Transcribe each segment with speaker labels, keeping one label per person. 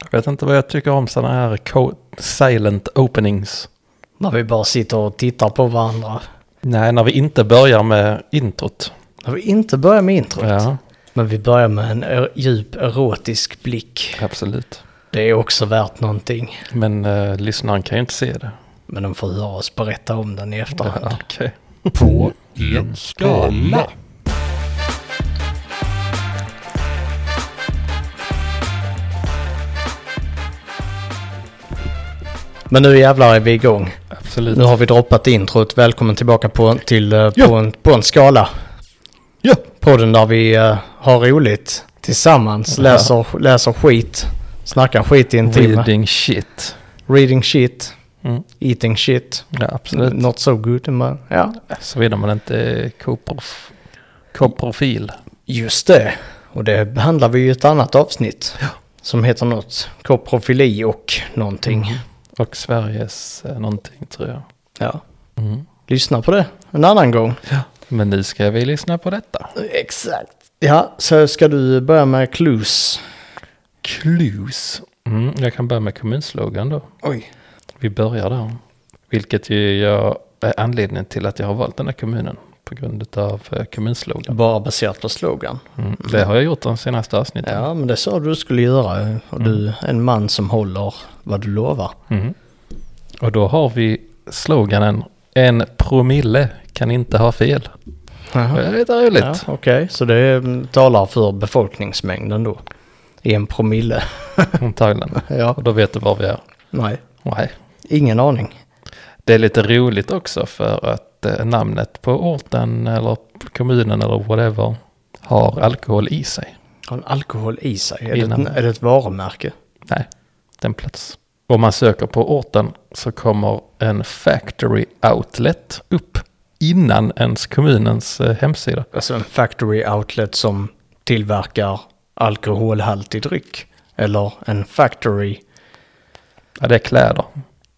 Speaker 1: Jag vet inte vad jag tycker om sådana här co- silent openings.
Speaker 2: När vi bara sitter och tittar på varandra.
Speaker 1: Nej, när vi inte börjar med introt.
Speaker 2: När vi inte börjar med introt.
Speaker 1: Ja,
Speaker 2: Men vi börjar med en er- djup erotisk blick.
Speaker 1: absolut.
Speaker 2: Det är också värt någonting.
Speaker 1: Men eh, lyssnaren kan ju inte se det.
Speaker 2: Men de får höra oss berätta om den i efterhand.
Speaker 1: Ja, okej.
Speaker 3: På en skala.
Speaker 2: Men nu jävlar är vi igång.
Speaker 1: Absolut.
Speaker 2: Nu har vi droppat introt. Välkommen tillbaka på, till, eh, på,
Speaker 1: Ja.
Speaker 2: en, på en skala.
Speaker 1: Ja.
Speaker 2: Podden där vi eh, har roligt tillsammans.
Speaker 1: Ja.
Speaker 2: Läser, läser skit. Snackar skit i en timme.
Speaker 1: Reading shit.
Speaker 2: Reading shit.
Speaker 1: Mm.
Speaker 2: Eating shit.
Speaker 1: Ja, absolut.
Speaker 2: Not so good. Men, ja.
Speaker 1: Såvida man inte är koprof- koprofil.
Speaker 2: Just det. Och det behandlar vi ju i ett annat avsnitt. Som heter något. Koprofili och någonting.
Speaker 1: Och Sveriges eh, någonting tror jag.
Speaker 2: Ja.
Speaker 1: Mm.
Speaker 2: Lyssna på det en annan gång.
Speaker 1: Men nu ska vi lyssna på detta.
Speaker 2: Exakt. Ja, så ska du börja med clues.
Speaker 1: Clues. Mm, jag kan börja med kommunslogan då.
Speaker 2: Oj.
Speaker 1: Vi börjar där. Vilket ju jag, är anledningen till att jag har valt den här kommunen. På grund av eh, kommunslogan.
Speaker 2: Bara baserat på slogan.
Speaker 1: Mm. Det har jag gjort de senaste avsnitten.
Speaker 2: Ja, men det sa du skulle göra. Och du är en man som håller vad du lovar.
Speaker 1: Mm. Och då har vi sloganen En promille kan inte ha fel. Det är lite roligt.
Speaker 2: Ja, Okej, så det mm, talar för befolkningsmängden då. I en promille.
Speaker 1: Antagligen.
Speaker 2: ja,
Speaker 1: Och då vet du var vi är.
Speaker 2: nej.
Speaker 1: Nej.
Speaker 2: Ingen aning.
Speaker 1: Det är lite roligt också för att eh, namnet på orten eller kommunen eller whatever har alkohol i sig.
Speaker 2: Har en alkohol i sig? Är det,
Speaker 1: Innan.
Speaker 2: ett, är det ett varumärke?
Speaker 1: Nej, den plats. Om man söker på orten så kommer en factory outlet upp innan ens kommunens eh, hemsida.
Speaker 2: Alltså en factory outlet som tillverkar alkoholhaltig dryck. Eller en factory
Speaker 1: Ja, det är kläder.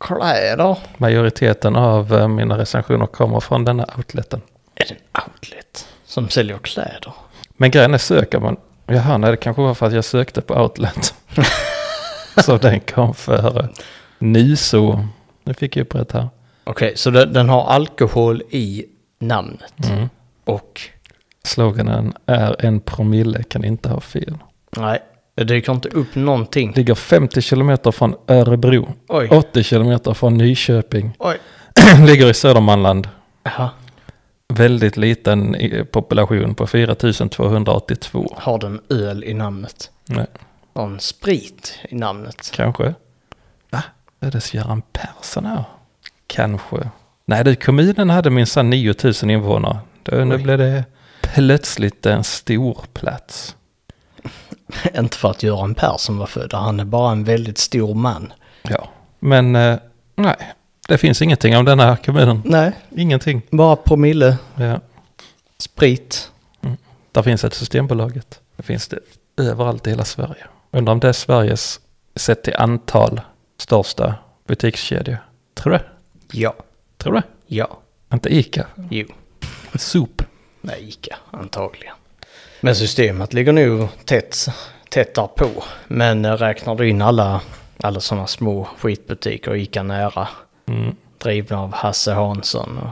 Speaker 2: kläder.
Speaker 1: Majoriteten av eh, mina recensioner kommer från denna outleten.
Speaker 2: Är det en outlet som säljer kläder?
Speaker 1: Men grejen är söker man. Jaha, nej det kanske var för att jag sökte på Outlet. så den kom före. Nyso. Nu fick jag upp rätt här.
Speaker 2: Okej, så den, den har alkohol i namnet. Och
Speaker 1: Sloganen är en promille kan inte ha fel.
Speaker 2: nej, det dyker inte upp någonting.
Speaker 1: Ligger 50 kilometer från Örebro.
Speaker 2: Oj.
Speaker 1: 80 kilometer från Nyköping.
Speaker 2: Oj.
Speaker 1: Ligger i Södermanland.
Speaker 2: Jaha.
Speaker 1: Väldigt liten i- population på 4282.
Speaker 2: Har den öl i namnet?
Speaker 1: Nej,
Speaker 2: Har den sprit i namnet?
Speaker 1: kanske. Va? Är det Göran Persson här? Kanske. Nej du, kommunen hade minsann 9000 invånare. Då, nu
Speaker 2: Oj.
Speaker 1: blev det plötsligt en stor plats.
Speaker 2: inte för att Göran Persson var född, han är bara en väldigt stor man.
Speaker 1: Ja. Men eh, nej, det finns ingenting om den här kommunen.
Speaker 2: Nej,
Speaker 1: Ingenting.
Speaker 2: bara promille,
Speaker 1: Ja.
Speaker 2: sprit.
Speaker 1: Där finns ett Systembolaget. Det finns det överallt i hela Sverige. Undrar om det är Sveriges, sett till antal, största butikskedja. Tror du?
Speaker 2: Ja.
Speaker 1: Tror du?
Speaker 2: Ja.
Speaker 1: Inte Ica.
Speaker 2: Jo.
Speaker 1: Sop.
Speaker 2: Nej, Ica antagligen. Men systemet ligger nog tätt, tätt därpå. Men eh, räknar du in alla, alla sådana små skitbutiker, Ica nära,
Speaker 1: Mm.
Speaker 2: drivna av Hasse Hansson och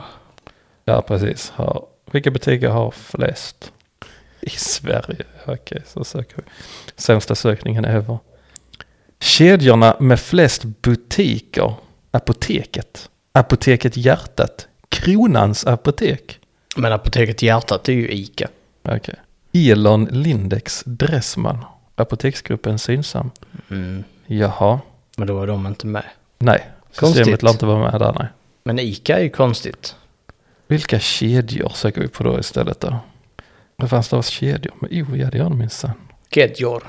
Speaker 1: Ja, precis. Har, vilka butiker har flest? I Sverige. Okej, så söker vi. Sämsta sökningen ever. Kedjorna med flest butiker. Apoteket. Apoteket Hjärtat. Kronans apotek.
Speaker 2: Men Apoteket Hjärtat är ju Ica.
Speaker 1: Okej. Elon Lindex Dressman. Apoteksgruppen Synsam.
Speaker 2: Mm.
Speaker 1: Jaha.
Speaker 2: Men då är de inte med.
Speaker 1: Nej. Systemet
Speaker 2: Konstigt.
Speaker 1: lär inte vara med där, nej.
Speaker 2: Men Ica är ju konstigt.
Speaker 1: Vilka kedjor söker vi på då istället då? Vad fanns det för kedjor? Men jo, ja det gör det minsann.
Speaker 2: Kedjor.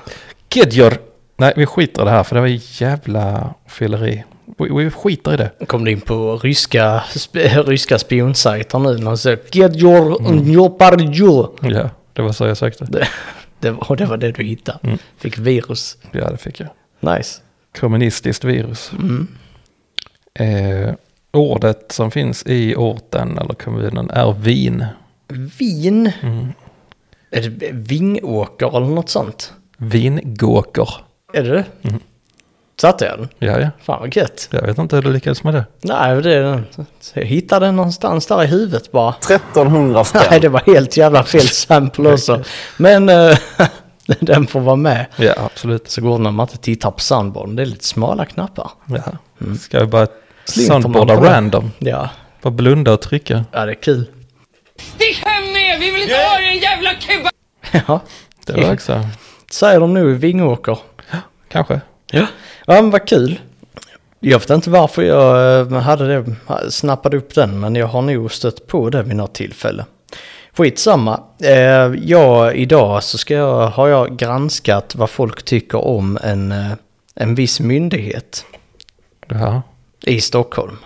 Speaker 1: Kedjor! Nej, vi skiter i det här för det var ju jävla fylleri. Vi, vi skiter i det.
Speaker 2: Kom du in på ryska, sp- ryska spionsajter nu när de söker Kedjor Njoparjo.
Speaker 1: Ja, det var så jag sökte.
Speaker 2: Det, det, var- och det var det du hittade. Fick virus.
Speaker 1: Ja, det fick jag.
Speaker 2: Nice. Mm.
Speaker 1: Kommunistiskt virus. Eh, ordet som finns i orten eller kommunen är vin. Mm.
Speaker 2: Vin. Är det Vingåker eller något sånt?
Speaker 1: Vingåker.
Speaker 2: Är det det? Satte jag den?
Speaker 1: Ja, ja.
Speaker 2: Fan vad gött.
Speaker 1: Jag vet inte hur du lyckades med det.
Speaker 2: Nej, det är den. Så Jag hittade den någonstans där i huvudet bara.
Speaker 4: 1300
Speaker 2: Nej,
Speaker 4: spänn.
Speaker 2: det var helt jävla fel sample också. Men eh, den får vara med.
Speaker 1: Ja, absolut.
Speaker 2: Så går det när man inte tittar på soundboarden. Det är lite smala knappar.
Speaker 1: Ja. Ska vi bara
Speaker 2: Slinter man
Speaker 1: soundboarda
Speaker 2: på det?
Speaker 1: random?
Speaker 2: Ja,
Speaker 1: Bara blunda och trycka.
Speaker 2: ja det är kul.
Speaker 5: Stick hem med er! Vi vill inte ha er i en jävla kuba!
Speaker 2: Ja,
Speaker 1: Det var också.
Speaker 2: säger de nu i Vingåker.
Speaker 1: Kanske.
Speaker 2: Ja. ja, men vad kul. Jag vet inte varför jag eh, hade det, snappade upp den, men jag har nog stött på det vid något tillfälle. Skitsamma. Eh, jag, idag så ska jag, har jag granskat vad folk tycker om en, eh, en viss myndighet
Speaker 1: Ja.
Speaker 2: i Stockholm.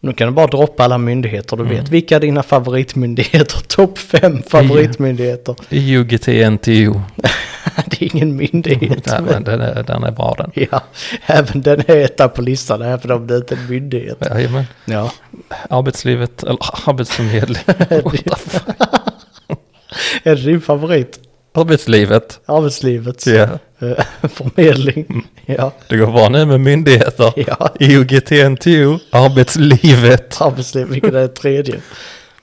Speaker 2: Nu kan du bara droppa alla myndigheter
Speaker 1: Mm.
Speaker 2: du vet. Vilka är dina favoritmyndigheter? Topp fem favoritmyndigheter.
Speaker 1: IUGT-NTO.
Speaker 2: Det är ingen myndighet.
Speaker 1: Nej, men den är, den är bra den.
Speaker 2: Ja, även den är etta på listan, även om det inte är en myndighet.
Speaker 1: Jajamän.
Speaker 2: Ja.
Speaker 1: Arbetslivet, eller arbetsförmedling. What the fuck?
Speaker 2: Är det din favorit?
Speaker 1: Arbetslivet.
Speaker 2: Arbetslivets
Speaker 1: Ja. Mm.
Speaker 2: eh, förmedling? Ja,
Speaker 1: Det går bra nu med myndigheter.
Speaker 2: Ja.
Speaker 1: IUGT-NTO. Arbetslivet.
Speaker 2: arbetsliv, vilket är tredje.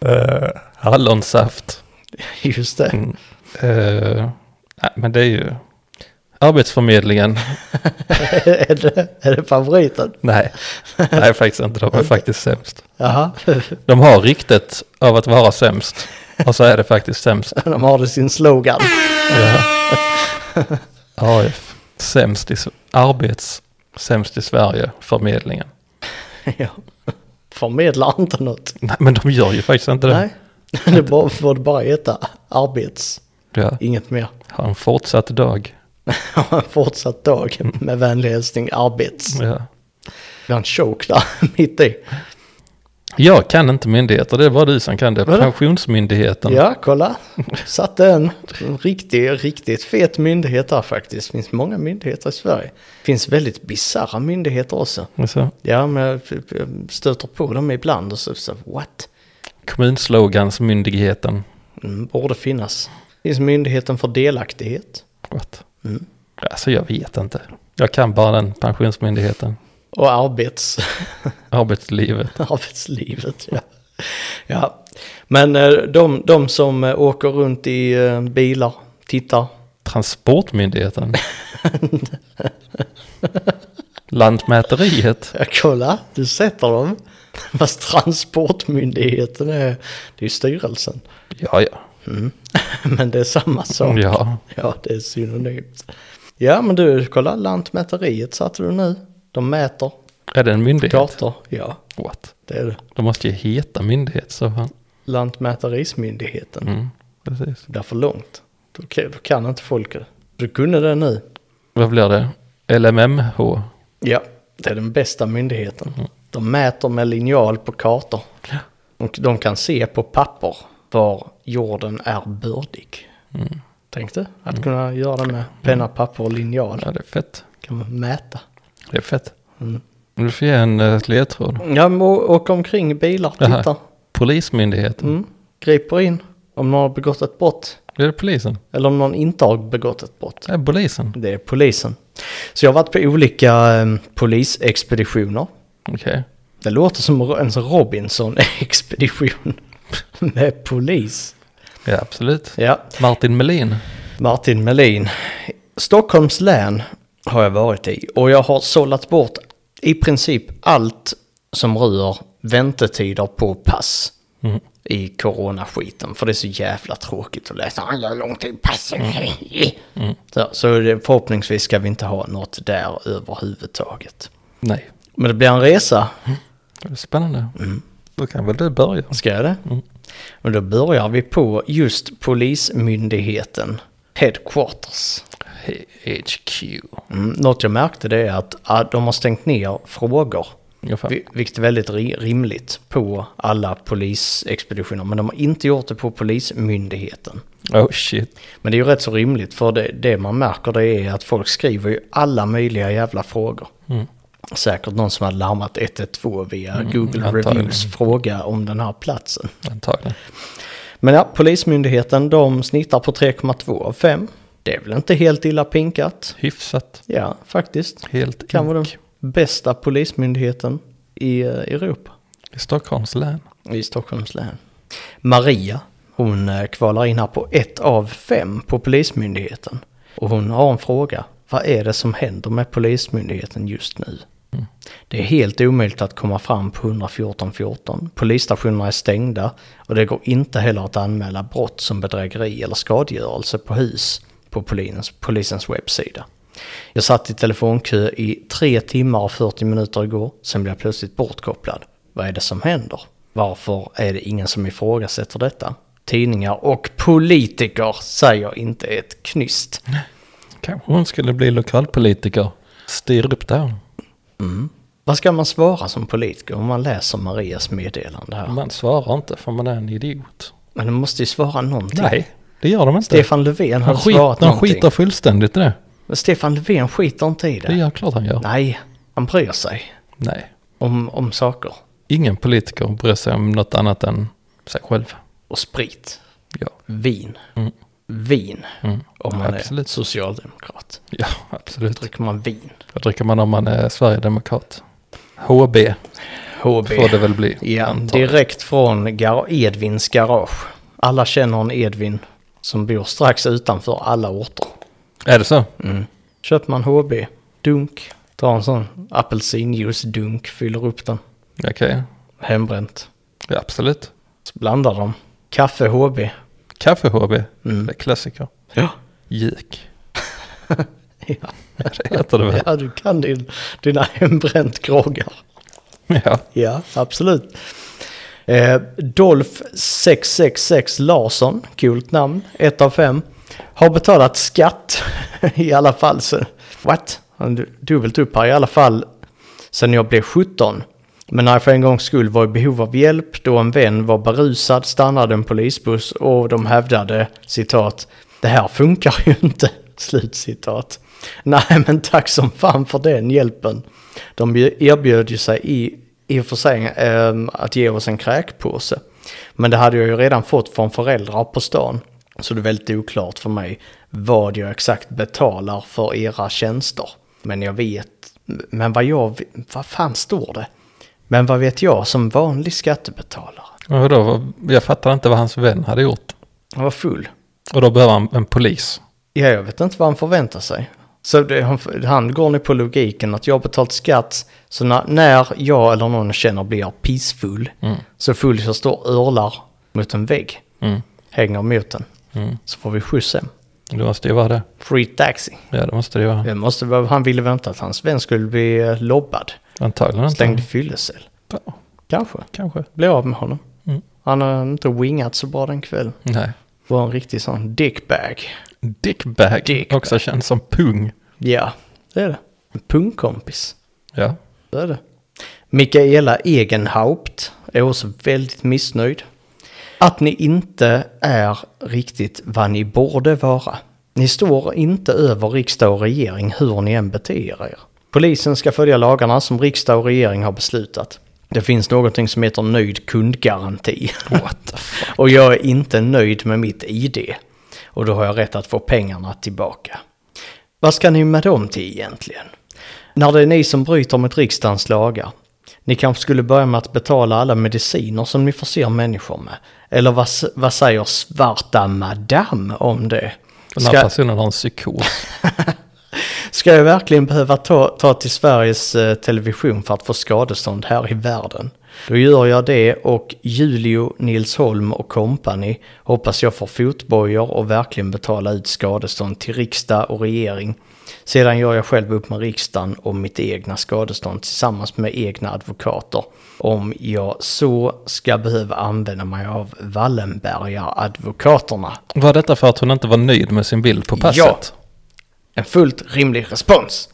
Speaker 1: Uh, hallonsaft.
Speaker 2: Just det.
Speaker 1: Mm. Eh, nej, men det är ju... Arbetsförmedlingen.
Speaker 2: är, det är det favoriten?
Speaker 1: Nej, nej faktiskt inte. De är faktiskt sämst.
Speaker 2: Jaha,
Speaker 1: De har ryktet av att vara sämst. Och så är det faktiskt sämst.
Speaker 2: de har det i sin slogan.
Speaker 1: AF. Sämst i S- arbets... Sämst i Sverige, förmedlingen.
Speaker 2: ja. Förmedlar inte något.
Speaker 1: Nej, men de gör ju faktiskt inte det.
Speaker 2: Nej, det bara- får det bara heta arbets,
Speaker 1: Ja,
Speaker 2: inget mer.
Speaker 1: ha en fortsatt dag.
Speaker 2: Ha en fortsatt dag med vänlig hälsning, arbets.
Speaker 1: Ja.
Speaker 2: Det var en choke där, mitt i.
Speaker 1: Jag kan inte myndigheter, det är bara du som kan det.
Speaker 2: Vadå?
Speaker 1: Pensionsmyndigheten.
Speaker 2: Ja, kolla. Satt en riktig, riktigt fet myndighet där faktiskt. finns många myndigheter i Sverige. finns väldigt bisarra myndigheter också.
Speaker 1: Så,
Speaker 2: Ja, men jag stöter på dem ibland och så, så what?
Speaker 1: kommunslogansmyndigheten.
Speaker 2: Mm, borde finnas. finns myndigheten för delaktighet.
Speaker 1: What?
Speaker 2: Mm.
Speaker 1: Alltså jag vet inte. Jag kan bara den pensionsmyndigheten.
Speaker 2: Och arbets,
Speaker 1: Arbetslivet.
Speaker 2: arbetslivet. Ja. ja, men eh, de, de som eh, åker runt i eh, bilar, tittar.
Speaker 1: Transportmyndigheten. Lantmäteriet.
Speaker 2: Ja, kolla, du sätter dem. Fast Transportmyndigheten är, det är ju styrelsen.
Speaker 1: Ja, ja.
Speaker 2: Men det är samma sak. Ja.
Speaker 1: Ja,
Speaker 2: det är synonymt. Ja, men du, kolla Lantmäteriet satte du nu. De mäter
Speaker 1: är det en myndighet?
Speaker 2: kartor. Ja,
Speaker 1: What?
Speaker 2: det är det.
Speaker 1: De måste ju heta myndighet så fan.
Speaker 2: Lantmäterismyndigheten.
Speaker 1: Mm, precis.
Speaker 2: Det blir för långt. Då, kan- då kan inte folk det. Du kunde det nu.
Speaker 1: Vad blir det? LMMH.
Speaker 2: Ja, det är den bästa myndigheten.
Speaker 1: Mm.
Speaker 2: De mäter med linjal på kartor. Och de kan se på papper var jorden är bördig.
Speaker 1: Mm.
Speaker 2: Tänk dig att kunna göra det med penna, papper och linjal.
Speaker 1: Ja, det är fett.
Speaker 2: Kan man mäta. Mm.
Speaker 1: Det är fett. Du får ge en eh, ledtråd.
Speaker 2: Ja, men å- åk omkring i bilar,
Speaker 1: Jaha.
Speaker 2: titta.
Speaker 1: Polismyndigheten.
Speaker 2: Mm. Griper in om någon har begått ett brott.
Speaker 1: Det är polisen.
Speaker 2: Eller om någon inte har begått ett brott.
Speaker 1: Det är polisen.
Speaker 2: Det är polisen. Så jag har varit på olika eh, polisexpeditioner.
Speaker 1: Okej.
Speaker 2: Det låter som en sån Robinson-expedition med polis.
Speaker 1: Ja, absolut.
Speaker 2: Ja,
Speaker 1: Martin Melin.
Speaker 2: Martin Melin. Stockholms län har jag varit i och jag har sållat bort i princip allt som rör väntetider på pass i coronaskiten. För det är så jävla tråkigt att läsa. "Ah, hur lång tid passen är." Så, så det- förhoppningsvis ska vi inte ha något där överhuvudtaget.
Speaker 1: Nej.
Speaker 2: Men det blir en resa
Speaker 1: Det är spännande.
Speaker 2: Mm.
Speaker 1: Då kan väl du börja.
Speaker 2: Ska jag det?
Speaker 1: Mm.
Speaker 2: Och då börjar vi på just Polismyndigheten Headquarters.
Speaker 1: HQ.
Speaker 2: Mm, något jag märkte det är att ah, de har stängt ner frågor.
Speaker 1: Ja, fan.
Speaker 2: vi- Vilket är väldigt ri- rimligt på alla polisexpeditioner. Men de har inte gjort det på Polismyndigheten.
Speaker 1: Oh shit.
Speaker 2: Men det är ju rätt så rimligt för det, det man märker det är att folk skriver ju alla möjliga jävla frågor.
Speaker 1: Mm.
Speaker 2: Säkert någon som har larmat 112 via Google
Speaker 1: antagligen.
Speaker 2: Reviews fråga om den här platsen.
Speaker 1: Antagligen.
Speaker 2: Men ja, Polismyndigheten de snittar på 3,2 av 5. Det är väl inte helt illa pinkat?
Speaker 1: Hyfsat.
Speaker 2: Ja, faktiskt.
Speaker 1: Helt
Speaker 2: Kan vara den
Speaker 1: ink.
Speaker 2: bästa polismyndigheten i eh, Europa.
Speaker 1: I Stockholms län.
Speaker 2: I Stockholms län. Maria, hon eh, kvalar in här på ett av fem på Polismyndigheten. Och hon har en fråga. Vad är det som händer med Polismyndigheten just nu? Det är helt omöjligt att komma fram på 114 14. Polisstationerna är stängda och det går inte heller att anmäla brott som bedrägeri eller skadegörelse på hus på polisens, polisens webbsida. Jag satt i telefonkö i tre timmar och 40 minuter igår, sen blev jag plötsligt bortkopplad. Vad är det som händer? Varför är det ingen som ifrågasätter detta? Tidningar och politiker säger inte ett knyst.
Speaker 1: Kanske hon skulle bli lokalpolitiker. Styr upp det här.
Speaker 2: Vad ska man svara som politiker om man läser Marias meddelande här?
Speaker 1: Man svarar inte för man är en idiot.
Speaker 2: Men de måste ju svara någonting.
Speaker 1: Nej, det gör de inte.
Speaker 2: Stefan Löfven har
Speaker 1: han skit,
Speaker 2: svarat
Speaker 1: han
Speaker 2: någonting.
Speaker 1: skiter fullständigt i det.
Speaker 2: Men Stefan Löfven skiter inte i det.
Speaker 1: Det är klart han gör.
Speaker 2: Nej, han bryr sig
Speaker 1: Nej.
Speaker 2: om, om saker.
Speaker 1: Ingen politiker bryr sig om något annat än sig själv.
Speaker 2: Och sprit.
Speaker 1: Ja,
Speaker 2: Vin.
Speaker 1: Mm.
Speaker 2: Vin. Om man
Speaker 1: Absolut.
Speaker 2: är socialdemokrat.
Speaker 1: ja absolut.
Speaker 2: Dricker man vin.
Speaker 1: Vad dricker man om man är Sverigedemokrat? HB
Speaker 2: HB.
Speaker 1: får det väl bli.
Speaker 2: Ja,
Speaker 1: antar jag.
Speaker 2: direkt från gar- Edvins garage. Alla känner en Edvin som bor strax utanför alla orter.
Speaker 1: Är det så?
Speaker 2: Köper man HB, dunk, tar en sån apelsinjuice-dunk, fyller upp den,
Speaker 1: Okej,
Speaker 2: hembränt.
Speaker 1: ja, absolut.
Speaker 2: Så blandar de. Kaffe HB.
Speaker 1: Kaffe-HB,
Speaker 2: Mm.
Speaker 1: det är klassiker.
Speaker 2: Ja.
Speaker 1: Gick.
Speaker 2: Ja.
Speaker 1: Det heter det väl?
Speaker 2: Ja, du kan din, dina hembränt groggar.
Speaker 1: Ja.
Speaker 2: Ja, absolut. Eh, Dolph 666 Larsson, coolt namn, ett av fem, har betalat skatt i alla fall. Så, what? Han du- dubbelt upp här i alla fall sen jag blev 17. Men när jag för en gångs skull var i behov av hjälp då en vän var berusad stannade en polisbuss och de hävdade citat det här funkar ju inte. Slutcitat. Nej men tack som fan för den hjälpen. De bjö- erbjöd ju sig i, i och för sig ehm, att ge oss en kräkpåse. Men det hade jag ju redan fått från föräldrar på stan. Så det är väldigt oklart för mig vad jag exakt betalar för era tjänster. Men jag vet, men vad jag, vad fan står det? Men vad vet jag som vanlig skattebetalare?
Speaker 1: Men Vadå? Vad- Jag fattar inte vad hans vän hade gjort.
Speaker 2: Han var full.
Speaker 1: Och då behöver han en polis.
Speaker 2: Ja, jag vet inte vad han förväntar sig. Så det, han, han går nu på logiken att jag har betalt skatt, så när, när jag eller någon jag känner blir pissfull, så full så står örlar mot en vägg,
Speaker 1: Mm.
Speaker 2: hänger mot den,
Speaker 1: Mm.
Speaker 2: så får vi skjuts hem.
Speaker 1: Det måste ju vara det.
Speaker 2: Free taxi.
Speaker 1: Ja, det måste det ju vara.
Speaker 2: Det måste, vara- han ville vänta att hans vän skulle bli eh, lobbad,
Speaker 1: Antagligen inte.
Speaker 2: slängd i fyllecell.
Speaker 1: Ja,
Speaker 2: Kanske.
Speaker 1: kanske.
Speaker 2: Blev av med honom.
Speaker 1: Mm.
Speaker 2: Han har inte wingat så bra den kvällen.
Speaker 1: Nej.
Speaker 2: Var en riktig sån dickbag.
Speaker 1: Dickbag.
Speaker 2: Dickbag.
Speaker 1: Också känns som pung.
Speaker 2: Ja, det är det. En pungkompis.
Speaker 1: Ja.
Speaker 2: Det är det. Mikaela Egenhaupt är också väldigt missnöjd. Att ni inte är riktigt vad ni borde vara. Ni står inte över riksdag och regering hur ni än beter er. Polisen ska följa lagarna som riksdag och regering har beslutat. Det finns någonting som heter nöjd kundgaranti. och jag är inte nöjd med mitt ID. Och då har jag rätt att få pengarna tillbaka. Vad ska ni med dem till egentligen? När det är ni som bryter mot riksdagens lagar. Ni kanske skulle börja med att betala alla mediciner som ni förser människor med. Eller vad, s- vad säger svarta madam om det?
Speaker 1: Den här
Speaker 2: Ska,
Speaker 1: personen har en psykos.
Speaker 2: ska jag verkligen behöva ta, ta till Sveriges eh, Television för att få skadestånd här i världen? Då gör jag det och Julio, Nilsholm och kompani hoppas jag får fotbojor och verkligen betala ut skadestånd till riksdag och regering. Sedan gör jag själv upp med riksdagen om mitt egna skadestånd tillsammans med egna advokater. Om jag så ska behöva använda mig av Wallenbergaradvokaterna.
Speaker 1: Var detta för att hon inte var nöjd med sin bild på passet?
Speaker 2: En fullt rimlig respons.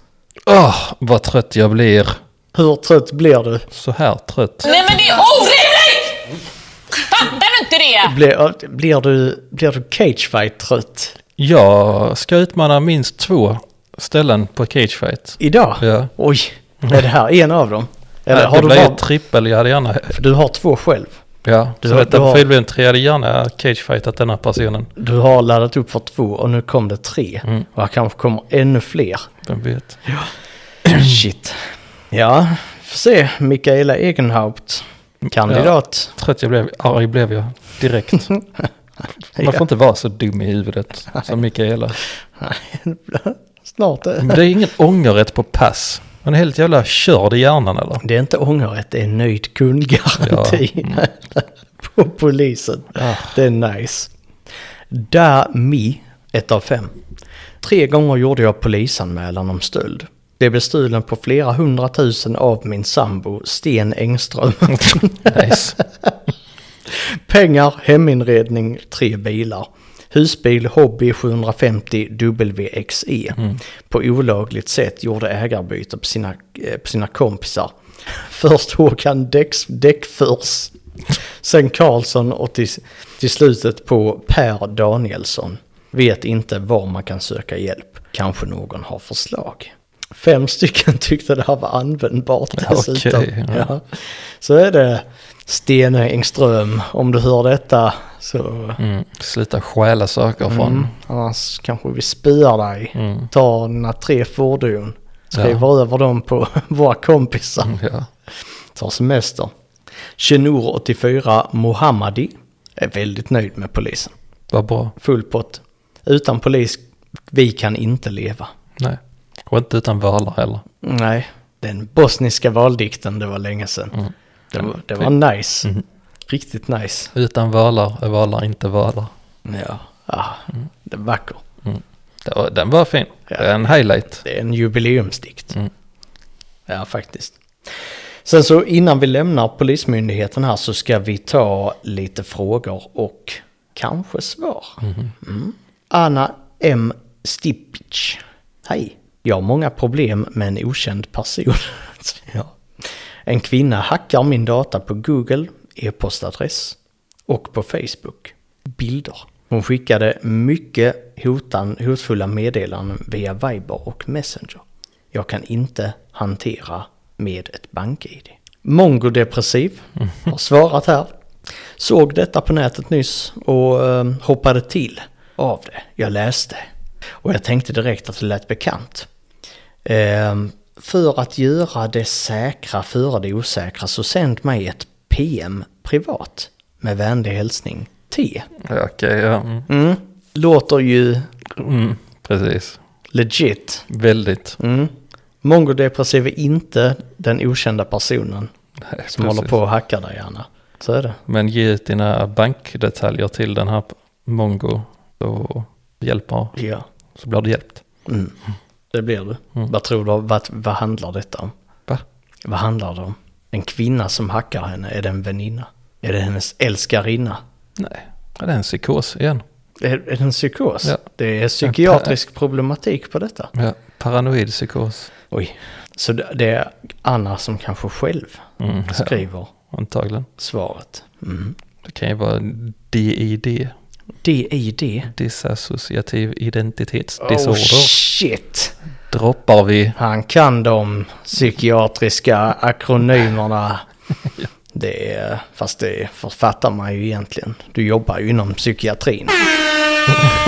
Speaker 1: Åh, vad trött jag blir.
Speaker 2: Hur trött blir du?
Speaker 1: Så här trött.
Speaker 5: Nej men det är orimligt! Fattar du inte det?
Speaker 2: Blir, blir du, blir du cagefight-trött
Speaker 1: Jag ska utmana minst två ställen på cagefight.
Speaker 2: idag?
Speaker 1: Ja.
Speaker 2: Oj, är det här en av dem? Eller
Speaker 1: Nej,
Speaker 2: har
Speaker 1: det
Speaker 2: du
Speaker 1: blir
Speaker 2: bara,
Speaker 1: trippel, jag hade gärna...
Speaker 2: för du har två själv?
Speaker 1: Ja,
Speaker 2: Du
Speaker 1: så
Speaker 2: har-
Speaker 1: detta
Speaker 2: du har-
Speaker 1: profilen har... tredje hjärna är cagefightat eh, den här personen.
Speaker 2: Du har laddat upp för två och nu kom det tre.
Speaker 1: Mm.
Speaker 2: Och här kanske kommer ännu fler.
Speaker 1: Vem vet?
Speaker 2: Shit. Ja, får se. Mikaela Egenhaupt. Kandidat.
Speaker 1: Trött jag blev, arg blev jag direkt. Man
Speaker 2: Ja.
Speaker 1: får inte vara så dum i huvudet som Mikaela.
Speaker 2: Snart det.
Speaker 1: Det är ingen ångerrätt på pass. Man är helt jävla körd i hjärnan eller?
Speaker 2: Det är inte ångerrätt, det är nöjd kundgaranti. På polisen. Det är nice. Dami, ett av fem. Tre gånger gjorde jag polisanmälan om stöld. Det blev stulen på flera hundratusen av min sambo Sten Engström.
Speaker 1: Nice.
Speaker 2: Pengar, heminredning, tre bilar. Husbil Hobby 750 WXE. E. På olagligt sätt gjorde ägarbyte på sina, eh, på sina kompisar. Först Håkan Däcks, Däckfors, sen Karlsson och till, till slutet på Per Danielsson. Vet inte var man kan söka hjälp. Kanske någon har förslag. Fem stycken tyckte det här var användbart dessutom.
Speaker 1: Okej, ja.
Speaker 2: Ja. Så är det Sten Engström, om du hör detta så
Speaker 1: Mm. Sluta stjäla saker från.
Speaker 2: Mm. annars kanske vi spyar dig. Ta dina tre fordon, skriver över dem på våra kompisar,
Speaker 1: Ja.
Speaker 2: tar semester. Chenur 84 Mohammadi är väldigt nöjd med polisen.
Speaker 1: Vad bra.
Speaker 2: Full pott. Utan polis, vi kan inte leva.
Speaker 1: Nej. Och inte utan valar heller.
Speaker 2: Nej, den bosniska valdikten, det var länge sedan. Det, var, det var nice. Riktigt nice.
Speaker 1: Utan valar är valar inte valar.
Speaker 2: Ja, ah, det är vackert.
Speaker 1: Det var, den var fin.
Speaker 2: Ja.
Speaker 1: Det är en highlight.
Speaker 2: Det är en jubileumsdikt.
Speaker 1: Mm.
Speaker 2: Ja, faktiskt. Sen så innan vi lämnar Polismyndigheten här så ska vi ta lite frågor och kanske svar. Mm. Anna M. Stipic. Hej. Jag har många problem med en okänd person. ja. En kvinna hackar min data på Google, e-postadress och på Facebook. Bilder. Hon skickade mycket hotan, hotfulla meddelanden via Viber och Messenger. Jag kan inte hantera med ett bank-id. Mongodepressiv har svarat här. Såg detta på nätet nyss och eh, hoppade till av det. Jag läste. Och jag tänkte direkt att det lät bekant. Ehm, för att göra det säkra före det osäkra så sänd mig ett PM privat. Med vänlig hälsning T.
Speaker 1: Ja, Okej, ja. Mm.
Speaker 2: Mm. Låter ju
Speaker 1: Mm. Precis.
Speaker 2: legit.
Speaker 1: Väldigt.
Speaker 2: Mm. Mongodepressiv är inte den okända personen
Speaker 1: Nej,
Speaker 2: som håller på och hackar dig gärna. Så är det.
Speaker 1: Men ge ut dina bankdetaljer till den här mongo. Så hjälper,
Speaker 2: Ja.
Speaker 1: så blir du hjälpt.
Speaker 2: Mm. Det blir du. Vad tror du, vad, vad handlar detta om?
Speaker 1: Mm. Va?
Speaker 2: Vad handlar det om? En kvinna som hackar henne, är det en väninna? Är det hennes älskarinna?
Speaker 1: Nej. Ja, Det är en psykos igen.
Speaker 2: Är, är det en psykos?
Speaker 1: Ja.
Speaker 2: Det är psykiatrisk problematik på detta.
Speaker 1: Ja, paranoid psykos.
Speaker 2: Oj. Så det, det är Anna som kanske själv
Speaker 1: Mm. Ja,
Speaker 2: skriver
Speaker 1: antagligen.
Speaker 2: svaret. Mm.
Speaker 1: Det kan ju vara DID.
Speaker 2: DID.
Speaker 1: Disassociativ identitetsdisorder.
Speaker 2: Oh shit!
Speaker 1: Droppar vi.
Speaker 2: Han kan de psykiatriska akronymerna. Det är, fast det författar man ju egentligen. Du jobbar ju inom psykiatrin.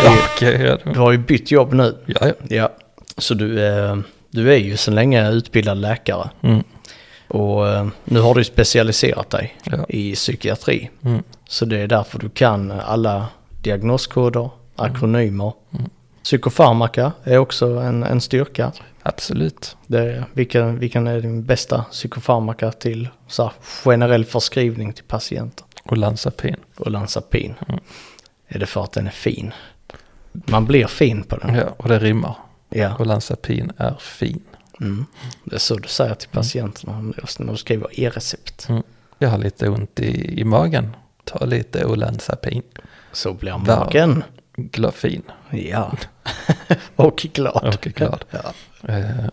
Speaker 1: Ja, okej. ja, det-
Speaker 2: Du har ju bytt jobb nu.
Speaker 1: ja, ja.
Speaker 2: Ja, så du, eh, du är ju sedan länge utbildad läkare.
Speaker 1: Mm.
Speaker 2: Och eh, nu har du specialiserat dig
Speaker 1: Ja.
Speaker 2: i psykiatri.
Speaker 1: Mm.
Speaker 2: Så det är därför du kan alla diagnoskoder,
Speaker 1: Mm.
Speaker 2: akronymer. Psykofarmaka är också en, en styrka.
Speaker 1: Absolut.
Speaker 2: Det är, vilken, vilken är din bästa psykofarmaka till så här, generell förskrivning till patienter?
Speaker 1: Och Lanzapin.
Speaker 2: Och Lanzapin.
Speaker 1: Mm.
Speaker 2: Är det för att den är fin? Man blir fin på den.
Speaker 1: Ja, och det rimmar.
Speaker 2: Ja.
Speaker 1: Och Lanzapin är fin.
Speaker 2: Mm. Det är så du säger till patienterna när du skriver e-recept.
Speaker 1: Mm. Jag har lite ont i, i magen. Ta lite Olanzapin.
Speaker 2: Så blir
Speaker 1: Där.
Speaker 2: magen.
Speaker 1: Glafin.
Speaker 2: Ja. och glad.
Speaker 1: Och glad.
Speaker 2: Ja.
Speaker 1: Eh,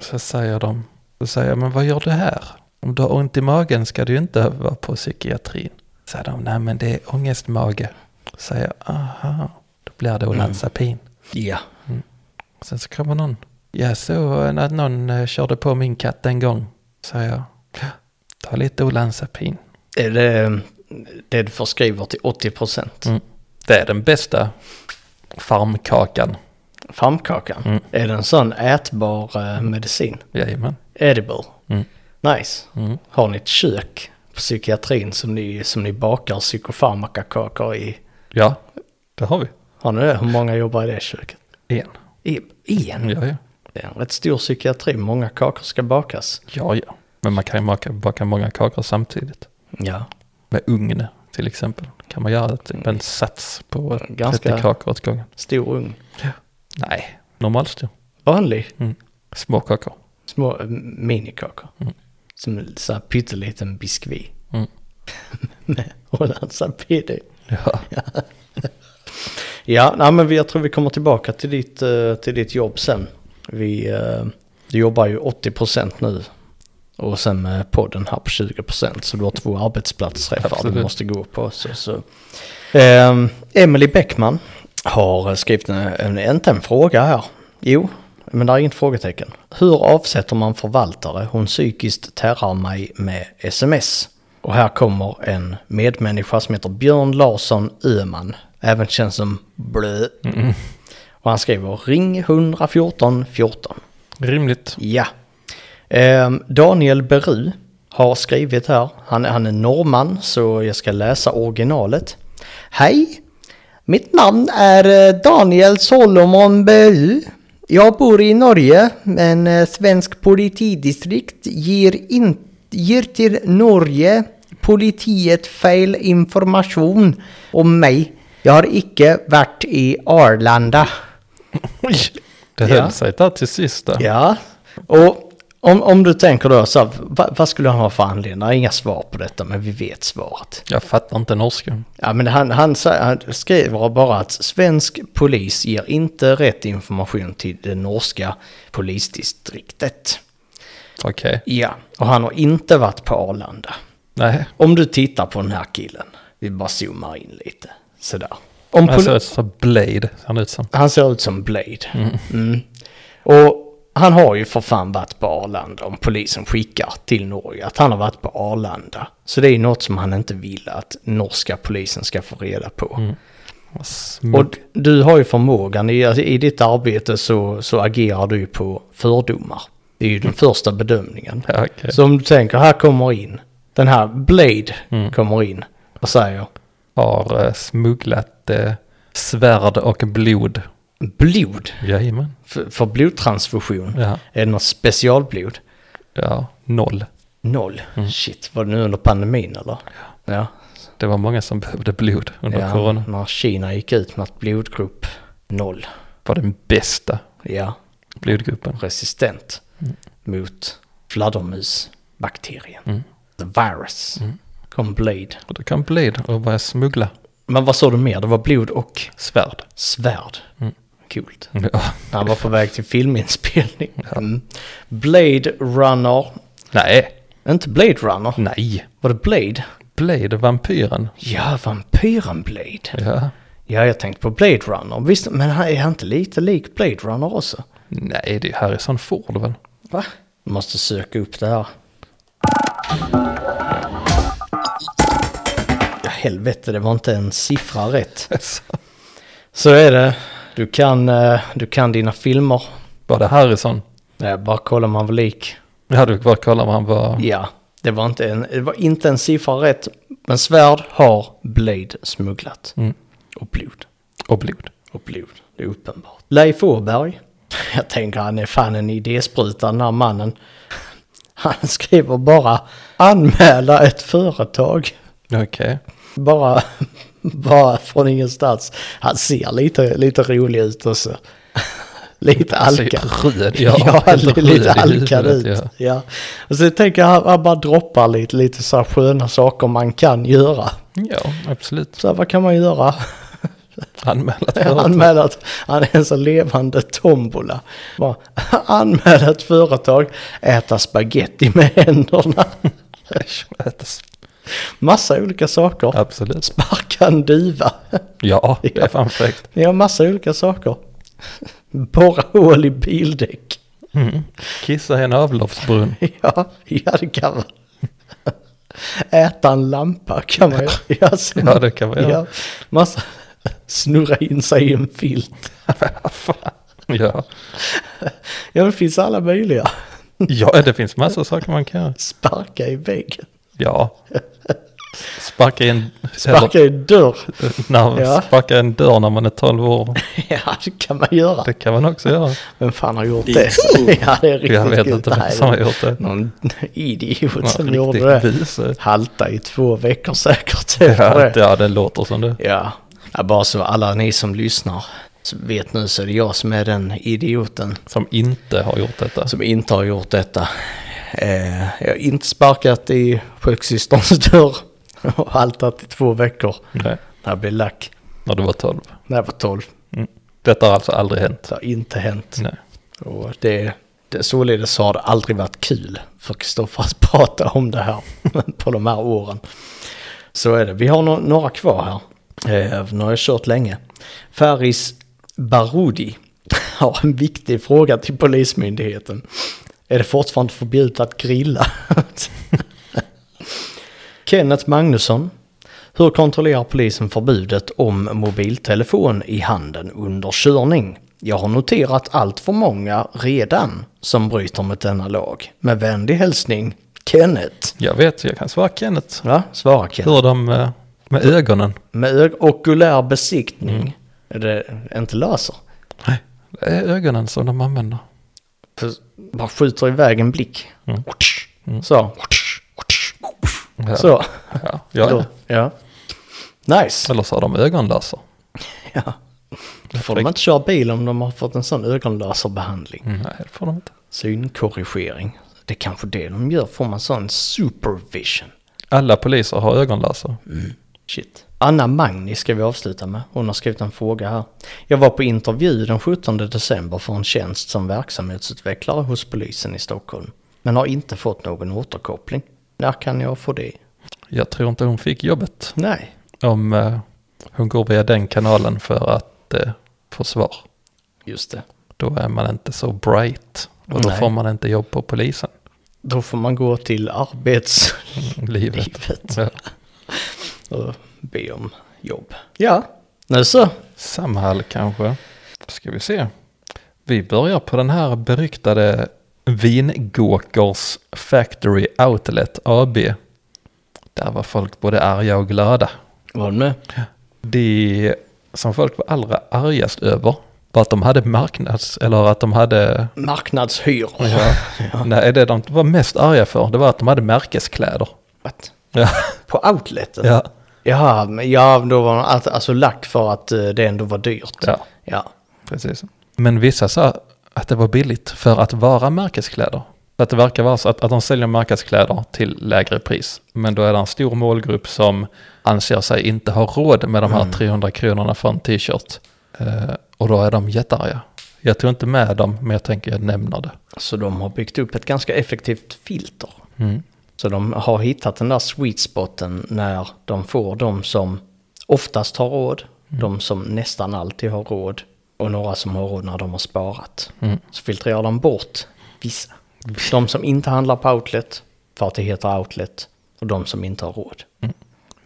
Speaker 1: så säger de. Så säger jag, men vad gör du här? Om du har ont i magen ska du ju inte vara på psykiatrin. Säger de, nej men det är ångestmage. Säger jag, aha. Då blir det Olanzapin.
Speaker 2: ja.
Speaker 1: Sen så kommer någon. Jag såg att eh, någon eh, körde på min katt en gång, säger jag. Ta lite Olanzapin.
Speaker 2: är det, det du förskriver till 80 procent.
Speaker 1: Mm. Det är den bästa farmkakan.
Speaker 2: Farmkakan,
Speaker 1: Mm.
Speaker 2: är det en sån ätbar eh, medicin?
Speaker 1: Jajamän.
Speaker 2: Edible.
Speaker 1: Mm.
Speaker 2: Nice. Har ni ett kök på psykiatrin som ni, som ni bakar psykofarmakakakor i?
Speaker 1: Ja, det har vi.
Speaker 2: Har ni det? Hur många jobbar i det köket?
Speaker 1: En.
Speaker 2: I, igen?
Speaker 1: Ja, ja.
Speaker 2: Det är en rätt stor psykiatri, många kakor ska bakas.
Speaker 1: Ja, ja. Men man kan ju baka, baka många kakor samtidigt.
Speaker 2: Ja.
Speaker 1: Med ugn till exempel. Kan man göra typ en sats på
Speaker 2: Mm. Ganska-
Speaker 1: 30 kakor åt gången.
Speaker 2: Stor ugn.
Speaker 1: Nej, normalstor.
Speaker 2: Vanlig.
Speaker 1: Mm. Små kakor.
Speaker 2: Små eh, minikakor. Som en sån här pytteliten biskvi.
Speaker 1: Mm.
Speaker 2: Med Hollandsapidi.
Speaker 1: Ja.
Speaker 2: Ja, nej, men vi- jag tror vi kommer tillbaka till ditt, eh, till ditt jobb sen. Vi, eh, du jobbar ju 80% nu. Och sen med podden här på 20% så du har två arbetsplatsträffar du
Speaker 1: Absolut.
Speaker 2: måste gå på. Så, så. Ehm, Emily Bäckman har skrivit en, en, inte en fråga här. Jo, men det är inget frågetecken. Hur avsätter man förvaltare? Hon psykiskt terrar mig med sms. Och här kommer en medmänniska som heter Björn Larsson Öhman. Även känns som blö. Och han skriver ring 114 14.
Speaker 1: Rimligt.
Speaker 2: Ja. Ehm, Daniel Beru har skrivit här. Han, han är norrman så jag ska läsa originalet. Hej! Mitt namn är eh, Daniel Solomon Beru. Jag bor i Norge men eh, svensk politidistrikt ger, in, ger till Norge politiet fel information om mig. Jag har icke varit i Arlanda.
Speaker 1: Oj, det
Speaker 2: Ja.
Speaker 1: höll sig där till sist. där.
Speaker 2: Ja, och om, om du tänker då så här, va, vad skulle han ha för anledning? Det är inga svar på detta, men vi vet svaret.
Speaker 1: Jag fattar inte norska.
Speaker 2: Ja, men han, han, sä- han skriver bara att svensk polis ger inte rätt information till det norska polisdistriktet.
Speaker 1: Okej.
Speaker 2: Ja, och han har inte varit på Arlanda.
Speaker 1: Nej,
Speaker 2: Om du tittar på den här killen, vi bara zoomar in lite, sådär. Om
Speaker 1: han
Speaker 2: poli-
Speaker 1: ser ut som Alltså, Blade. Ser han ut som.
Speaker 2: Han ser ut som Blade. Mm. Och han har ju för fan varit på Arlanda om polisen skickar till Norge att han har varit på Arlanda. Så det är ju något som han inte vill att norska polisen ska få reda på.
Speaker 1: Mm. Smug.
Speaker 2: Och du har ju förmågan, i, alltså, i ditt arbete så, så agerar du ju på fördomar. Det är ju den första bedömningen.
Speaker 1: Ja, okej.
Speaker 2: Så om du tänker, här kommer in, den här Blade
Speaker 1: Mm.
Speaker 2: kommer in och säger
Speaker 1: Har eh, smugglat eh, svärd och blod.
Speaker 2: blod
Speaker 1: Jajamän.
Speaker 2: för, för blodtransfusion.
Speaker 1: Ja.
Speaker 2: Är det något specialblod?
Speaker 1: ja, noll.
Speaker 2: Noll.
Speaker 1: Mm.
Speaker 2: Shit, var det nu under pandemin eller? Ja. ja.
Speaker 1: Det var många som behövde blod under corona.
Speaker 2: När Kina gick ut med att blodgrupp noll.
Speaker 1: Var den bästa
Speaker 2: Ja,
Speaker 1: blodgruppen.
Speaker 2: resistent
Speaker 1: Mm.
Speaker 2: mot fladdermusbakterien.
Speaker 1: Mm.
Speaker 2: The virus. Kom blade.
Speaker 1: Och då kan Blade och börja smuggla
Speaker 2: Men vad sa du mer? Det var blod och
Speaker 1: svärd.
Speaker 2: svärd.
Speaker 1: Mm.
Speaker 2: Coolt.
Speaker 1: Ja.
Speaker 2: Han var på väg till filminspelning. Mm. Blade Runner.
Speaker 1: Nej,
Speaker 2: Inte Blade Runner.
Speaker 1: nej.
Speaker 2: Var det Blade?
Speaker 1: Blade, vampyren.
Speaker 2: Ja, vampyren Blade.
Speaker 1: Ja.
Speaker 2: Ja, jag tänkte på Blade Runner. Visst, men han- är han inte lite lik Blade Runner också?
Speaker 1: Nej, det är Harrison Ford väl?
Speaker 2: Va? Måste söka upp det här. Ja, helvete, det var inte en siffra rätt. Så är det. Du kan, eh, du kan dina filmer.
Speaker 1: Var det Harrison?
Speaker 2: Nej, bara kolla om han var lik.
Speaker 1: Ja, du bara kollar vad han var.
Speaker 2: Ja, det var inte en, det var inte en siffra rätt. Men svärd har Blade smugglat. Och blod.
Speaker 1: Och blod.
Speaker 2: och blod. Det är uppenbart. Leif Åberg. Jag tänker han är fan en idéspruta den här mannen. Han skriver bara anmäla ett företag.
Speaker 1: Okej.
Speaker 2: Bara, bara från ingenstans. Han ser lite, lite rolig ut och så. Lite
Speaker 1: Han ser
Speaker 2: alkad.
Speaker 1: röd, ja. Helt
Speaker 2: lite,
Speaker 1: röd i
Speaker 2: lite alkad ut.
Speaker 1: huvudet,
Speaker 2: Ja.
Speaker 1: ja.
Speaker 2: Och så tänker jag han, han bara droppar lite, lite så här sköna saker man kan göra.
Speaker 1: Ja, absolut.
Speaker 2: Så här, vad kan man göra?
Speaker 1: Anmäla ett
Speaker 2: Jag
Speaker 1: företag.
Speaker 2: anmäler att han är en så levande tombola. Bara, anmäla ett företag, äta spaghetti med händerna.
Speaker 1: Ätas.
Speaker 2: Massa olika saker.
Speaker 1: Absolut.
Speaker 2: Sparka en duva.
Speaker 1: Ja, det är fan fräckt.
Speaker 2: Ja, massa olika saker. Borra hål i bildäck.
Speaker 1: Kissa i en avloppsbrunn.
Speaker 2: Ja, ja det kan man. Äta en lampa kan man ju göra. Alltså,
Speaker 1: Ja, det kan man göra.
Speaker 2: Ja, massa, snurra in sig i en filt.
Speaker 1: Ja.
Speaker 2: Ja, det finns alla möjliga.
Speaker 1: ja, det finns massa saker man kan göra.
Speaker 2: Sparka i väggen.
Speaker 1: Ja. Sparka i en,
Speaker 2: Sparka i dörr.
Speaker 1: eller, när,
Speaker 2: Ja.
Speaker 1: sparka i en dörr när man är 12 år.
Speaker 2: Ja, det kan man göra.
Speaker 1: Det kan man också göra.
Speaker 2: Vem fan har gjort det? Ja, det är riktigt
Speaker 1: Jag vet
Speaker 2: kul.
Speaker 1: inte Mm. vem
Speaker 2: Nej,
Speaker 1: som har gjort det.
Speaker 2: Någon idiot som
Speaker 1: Någon
Speaker 2: gjorde
Speaker 1: riktig
Speaker 2: det.
Speaker 1: buse.
Speaker 2: Halta i två veckor säkert efter
Speaker 1: Ja,
Speaker 2: det.
Speaker 1: det, ja, det låter som det.
Speaker 2: Ja. ja, bara så alla ni som lyssnar så vet nu så är det jag som är den idioten
Speaker 1: Som inte har gjort detta.
Speaker 2: som inte har gjort detta. Eh, jag har inte sparkat i sjuksysterns dörr och haltat i två veckor
Speaker 1: Nej,
Speaker 2: när jag blev lack
Speaker 1: när du var 12.
Speaker 2: när jag var tolv.
Speaker 1: Detta har alltså aldrig hänt.
Speaker 2: Det har inte hänt.
Speaker 1: Nej.
Speaker 2: Och det, det, således så har det aldrig varit kul för Kristoffer att prata om det här på de här åren. Så är det. Vi har no- några kvar här. Eh, nu har jag kört länge. Faris Baroudi har en viktig fråga till Polismyndigheten. Är det fortfarande förbjudet att grilla? Kenneth Magnusson. Hur kontrollerar polisen förbudet om mobiltelefon i handen under körning? Jag har noterat allt för många redan som bryter mot denna lag. Med vänlig hälsning, Kenneth.
Speaker 1: Jag vet, jag kan svara Kenneth.
Speaker 2: Va? Svara Kenneth.
Speaker 1: Hur de eh, med ögonen.
Speaker 2: Med ö- okulär besiktning. Är det inte laser?
Speaker 1: Nej, det är ögonen som de använder.
Speaker 2: För bara skjuter iväg en blick. Så.
Speaker 1: Ja.
Speaker 2: Så.
Speaker 1: Ja, ja.
Speaker 2: Ja. Nice.
Speaker 1: Eller så har de ögonlaser.
Speaker 2: Ja. Då får de inte köra bil om de har fått en sån ögonlaserbehandling.
Speaker 1: Nej, det får de inte.
Speaker 2: Synkorrigering. Det är kanske det de gör. Får man sån supervision.
Speaker 1: Alla poliser har ögonlaser.
Speaker 2: Shit. Anna Magni ska vi avsluta med. Hon har skrivit en fråga här. Jag var på intervju den 17 december för en tjänst som verksamhetsutvecklare hos polisen i Stockholm. Men har inte fått någon återkoppling. När kan jag få det?
Speaker 1: Jag tror inte hon fick jobbet.
Speaker 2: Nej.
Speaker 1: Om eh, hon går via den kanalen för att eh, få svar.
Speaker 2: Just det.
Speaker 1: Då är man inte så bright. Och då
Speaker 2: Nej.
Speaker 1: får man inte jobb på polisen.
Speaker 2: Då får man gå till arbets...
Speaker 1: Livet.
Speaker 2: Livet.
Speaker 1: Ja.
Speaker 2: och be om jobb. Ja. Nu så.
Speaker 1: Samhall kanske. Ska vi se. Vi börjar på den här beryktade Vingåkers Factory Outlet AB. Där var folk både arga och glada.
Speaker 2: Var du med?
Speaker 1: Det som folk var allra argast över var att de hade marknads, eller att de hade,
Speaker 2: Marknadshyror.
Speaker 1: nej det de var mest arga för, det var att de hade märkeskläder.
Speaker 2: What?
Speaker 1: Ja,
Speaker 2: På outleten?
Speaker 1: ja.
Speaker 2: Jaha, men ja, då var allt- alltså lack för att eh, det ändå var dyrt.
Speaker 1: Ja.
Speaker 2: ja.
Speaker 1: Precis. Men vissa sa att det var billigt för att vara märkeskläder. Att det verkar vara så att, att de säljer märkeskläder till lägre pris. Men då är det en stor målgrupp som anser sig inte ha råd med de här 300 kronorna för en t-shirt. Eh, och då är de jättearga. Jag tog inte med dem, men jag tänker jag nämner det.
Speaker 2: Så de har byggt upp ett ganska effektivt filter.
Speaker 1: Mm.
Speaker 2: Så de har hittat den där sweet spoten när de får de som oftast har råd,
Speaker 1: Mm.
Speaker 2: de som nästan alltid har råd och några som har råd när de har sparat.
Speaker 1: Mm.
Speaker 2: Så filtrerar de bort vissa. De som inte handlar på outlet för att det heter outlet och de som inte har råd.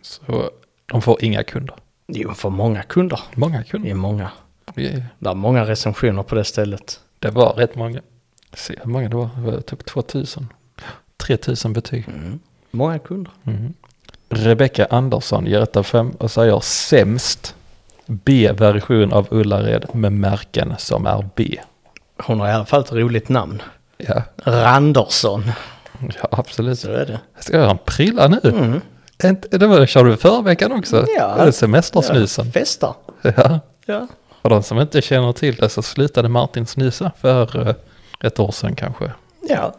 Speaker 1: Så de får inga kunder.
Speaker 2: Det är ju för många kunder.
Speaker 1: Många
Speaker 2: Det
Speaker 1: kunder.
Speaker 2: är många.
Speaker 1: Yeah.
Speaker 2: Det är många recensioner på det stället.
Speaker 1: Det var rätt många. Se hur många det var. Det var typ 2000. 3000 betyg.
Speaker 2: Många kunder.
Speaker 1: Rebecka Andersson ger 1 av 5 och säger sämst B-version av Ullared med märken som är B.
Speaker 2: Hon har i alla fall ett roligt namn.
Speaker 1: Ja,
Speaker 2: Randersson.
Speaker 1: ja absolut.
Speaker 2: Så är det.
Speaker 1: Ska jag göra en prilla nu? Inte- Det var det körde du förra veckan också.
Speaker 2: Ja.
Speaker 1: Det är semestersnusen.
Speaker 2: Festar.
Speaker 1: Ja.
Speaker 2: Ja.
Speaker 1: För de som inte känner till det så slutade Martin snusa för eh, ett år sedan kanske.
Speaker 2: Ja.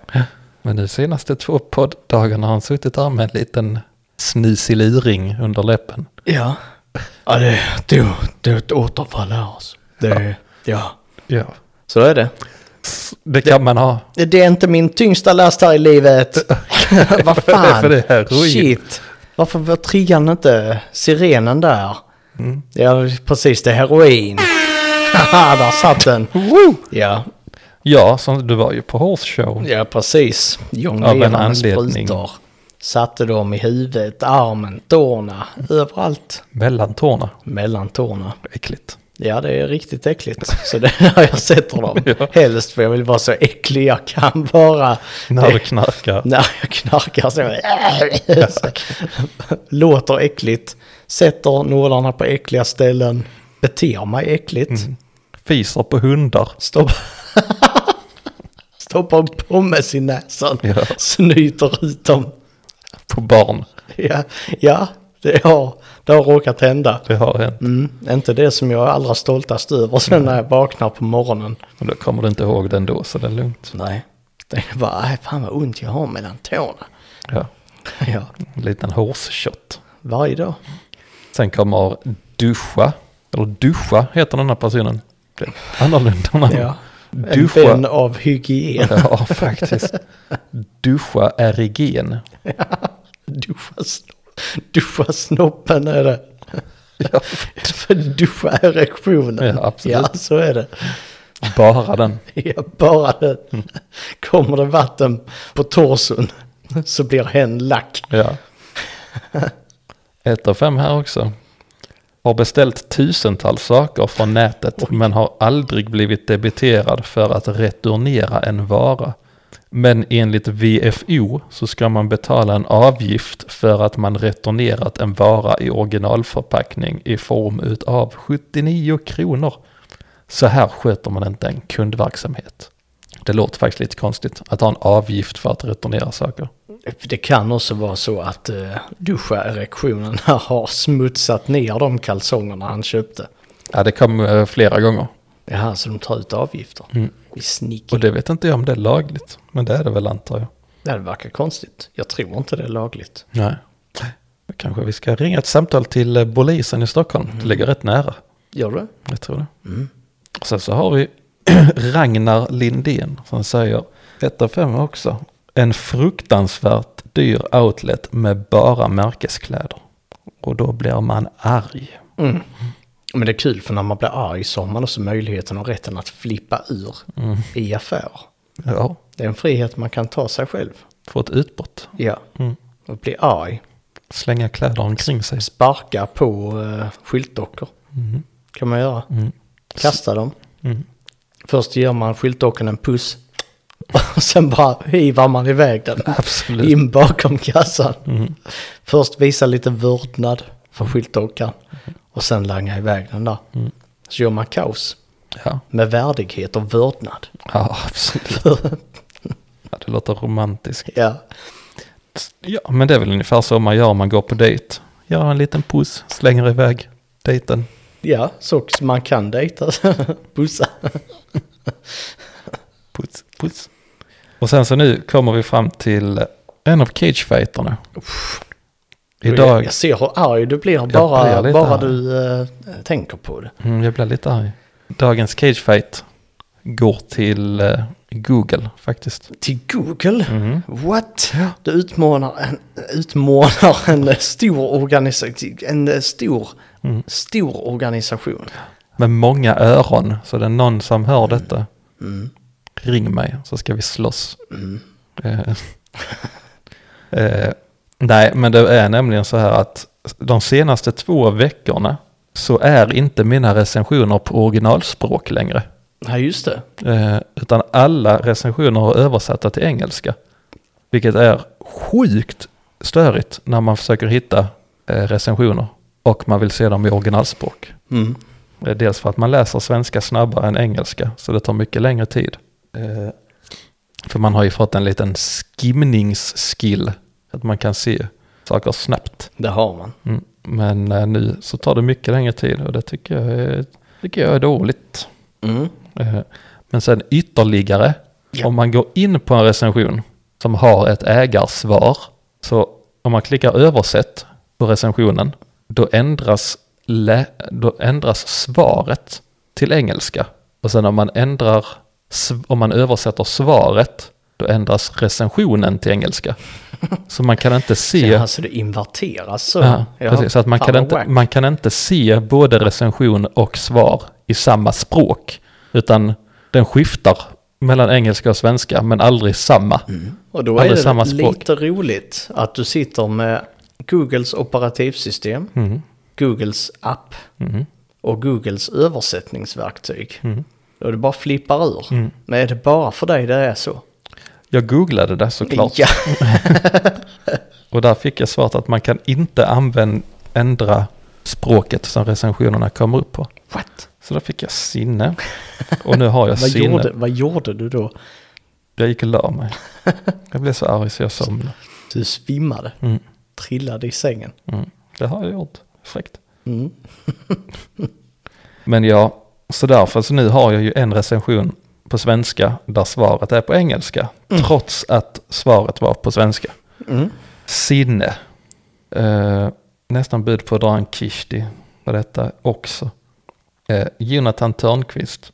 Speaker 1: Men de senaste två podddagarna har han suttit där med en liten snusig luring under läppen.
Speaker 2: Ja. Ja, det, det, det är ett återfall här alltså. Det, ja.
Speaker 1: Ja,
Speaker 2: Så är det.
Speaker 1: det kan man ha.
Speaker 2: Det- Det är inte min tyngsta last här i livet. Vad
Speaker 1: Vad är det
Speaker 2: fan.
Speaker 1: för det här? Ruin.
Speaker 2: Shit. Varför var triggan inte sirenen där?
Speaker 1: Mm.
Speaker 2: Ja, precis. Det är heroin. Haha, där satt den. Ja,
Speaker 1: Ja, som du var ju på horse show.
Speaker 2: ja precis.
Speaker 1: Av en
Speaker 2: Jonglerande
Speaker 1: anledning.
Speaker 2: sprutor. Satte dem i huvudet, armen, tårna, överallt.
Speaker 1: Mellan tårna.
Speaker 2: Mellan tårna.
Speaker 1: Äckligt.
Speaker 2: Ja, det är riktigt äckligt. Så det är där jag sätter dem.
Speaker 1: Ja.
Speaker 2: Helst för jag vill vara så äcklig jag kan vara.
Speaker 1: När du knarkar.
Speaker 2: När jag knarkar så, så låter äckligt, sätter nålarna på äckliga ställen, beter mig äckligt,
Speaker 1: Mm. Fiser på hundar.
Speaker 2: stopp, stoppar en pommes i näsan,
Speaker 1: Ja.
Speaker 2: snyter ut dem.
Speaker 1: På barn.
Speaker 2: Ja, ja det, har, det har råkat hända.
Speaker 1: Det har hänt.
Speaker 2: Mm, inte det som jag är allra stoltast över sen när jag vaknar på morgonen.
Speaker 1: Men då kommer du inte ihåg den då, så det är lugnt.
Speaker 2: Nej. Det är bara, "Aj, fan vad ont jag har mellan tårna.
Speaker 1: Ja.
Speaker 2: Ja,
Speaker 1: En liten horseshot.
Speaker 2: varje dag.
Speaker 1: Sen kommer duscha. Eller duscha heter den här personen. Det är annorlunda namn.
Speaker 2: Ja. En vän
Speaker 1: Duscha.
Speaker 2: av hygien.
Speaker 1: Ja, faktiskt. Duscha är igen.
Speaker 2: Duscha, sno- duscha snoppen är det. För duscha erektionen.
Speaker 1: Ja, absolut.
Speaker 2: Ja, så är det.
Speaker 1: Bara den.
Speaker 2: Ja, bara det. Kommer det vatten på torson så blir hen lack.
Speaker 1: Ja. Ett av fem här också. Har beställt tusentals saker från nätet men har aldrig blivit debiterad för att returnera en vara. Men enligt VFO så ska man betala en avgift för att man returnerat en vara i originalförpackning i form av 79 kronor. Så här sköter man inte en kundverksamhet. Det låter faktiskt lite konstigt att ha en avgift för att returnera saker.
Speaker 2: Det kan också vara så att uh, duscha erektionen har smutsat ner de kalsongerna han köpte.
Speaker 1: Ja, det kom eh, flera gånger.
Speaker 2: Jaha, så de tar ut avgifter? Vi
Speaker 1: Mm.
Speaker 2: snickar.
Speaker 1: Och det vet inte jag om det är lagligt. Men det är det väl antar jag.
Speaker 2: Det här verkar konstigt. Jag tror inte det är lagligt.
Speaker 1: Nej. Kanske vi ska ringa ett samtal till eh, polisen i Stockholm. Det ligger rätt nära.
Speaker 2: Gör du?
Speaker 1: Jag tror det. Och sen så har vi Ragnar Lindén som säger ett av fem också. En fruktansvärt dyr outlet med bara märkeskläder. Och då blir man arg.
Speaker 2: Men det är kul för när man blir arg så har man också möjligheten och rätten att flippa ur
Speaker 1: Mm.
Speaker 2: i affärer.
Speaker 1: Ja,
Speaker 2: Det är en frihet man kan ta sig själv.
Speaker 1: få ett utbrott.
Speaker 2: Ja.
Speaker 1: Mm.
Speaker 2: Och bli arg.
Speaker 1: Slänga kläder omkring sig.
Speaker 2: Sparka på uh, skyltdockor.
Speaker 1: Mm.
Speaker 2: Kan man göra. Kasta dem. Först ger man skyltdockan en puss. Och sen bara hivar man iväg den.
Speaker 1: Absolut. Mm.
Speaker 2: In bakom kassan. Först visa lite vördnad för skyltdockan. Och sen langa iväg den där.
Speaker 1: Mm.
Speaker 2: Så gör man kaos.
Speaker 1: Ja,
Speaker 2: Med värdighet och vördnad.
Speaker 1: ja absolut. Ja, det låter romantiskt.
Speaker 2: ja.
Speaker 1: Ja, men det är väl ungefär så man gör om man går på dejt. Gör en liten puss, slänger iväg dejten.
Speaker 2: ja, så man kan dejta. Pussa.
Speaker 1: Puss, puss. Och sen så nu kommer vi fram till en av cagefighterna.
Speaker 2: Jag,
Speaker 1: Idag,
Speaker 2: jag ser hur arg du blir
Speaker 1: blir
Speaker 2: bara,
Speaker 1: lite
Speaker 2: bara
Speaker 1: arg.
Speaker 2: du eh, tänker på det.
Speaker 1: mm, jag blir lite arg. Dagens cagefight går till eh, Google faktiskt.
Speaker 2: Till Google? What? Du utmanar en, utmanar en stor organisation. En eh, stor, stor organisation.
Speaker 1: Med många öron, så det är någon som hör detta. Ring mig så ska vi slåss. Eh, eh, nej, men det är nämligen så här att de senaste två veckorna så är inte mina recensioner på originalspråk längre.
Speaker 2: Ja, just det.
Speaker 1: Eh, utan alla recensioner är översatta till engelska. Vilket är sjukt störigt när man försöker hitta eh, recensioner och man vill se dem i originalspråk.
Speaker 2: Mm.
Speaker 1: Eh, Dels för att man läser svenska snabbare än engelska, så det tar mycket längre tid. Eh, För man har ju fått en liten skimningsskill, att man kan se saker snabbt.
Speaker 2: Det har man.
Speaker 1: Mm. Men eh, nu så tar det mycket längre tid och det tycker jag är, tycker jag är dåligt.
Speaker 2: Mm.
Speaker 1: Eh, Men sen ytterligare,
Speaker 2: Ja.
Speaker 1: om man går in på en recension som har ett ägarsvar, så om man klickar översätt på recensionen, då ändras, lä- då ändras svaret till engelska. Och sen om man ändrar, sv- om man översätter svaret, då ändras recensionen till engelska. Så man kan inte se...
Speaker 2: Ja, alltså det inverteras så.
Speaker 1: Ja, precis. Så att man,
Speaker 2: fan
Speaker 1: kan
Speaker 2: vad
Speaker 1: inte,
Speaker 2: wack.
Speaker 1: man kan inte se både recension och svar i samma språk. Utan den skiftar mellan engelska och svenska, men aldrig samma.
Speaker 2: Och då är
Speaker 1: Alla
Speaker 2: det
Speaker 1: samma språk.
Speaker 2: lite roligt att du sitter med Googles operativsystem,
Speaker 1: Mm.
Speaker 2: Googles app och Googles översättningsverktyg.
Speaker 1: Mm.
Speaker 2: Och det bara flippar ur. Men är det bara för dig det är så?
Speaker 1: Jag googlade det såklart.
Speaker 2: Ja.
Speaker 1: Och där fick jag svaret att man kan inte använda, ändra språket som recensionerna kommer upp på.
Speaker 2: What?
Speaker 1: Så där fick jag sinne. Och nu har jag
Speaker 2: Vad
Speaker 1: sinne.
Speaker 2: gjorde, vad gjorde du då?
Speaker 1: Jag gick och la mig. Jag blev så arg så jag somnade.
Speaker 2: Du svimmade,
Speaker 1: Mm.
Speaker 2: trillade i sängen.
Speaker 1: Mm. Det har jag gjort. Fräckt. Men ja, så därför, så nu har jag ju en recension på svenska där svaret är på engelska. Trots att svaret var på svenska. Sinne. Eh, nästan bud på att dra en kishti på detta också. Eh, Jonathan Törnqvist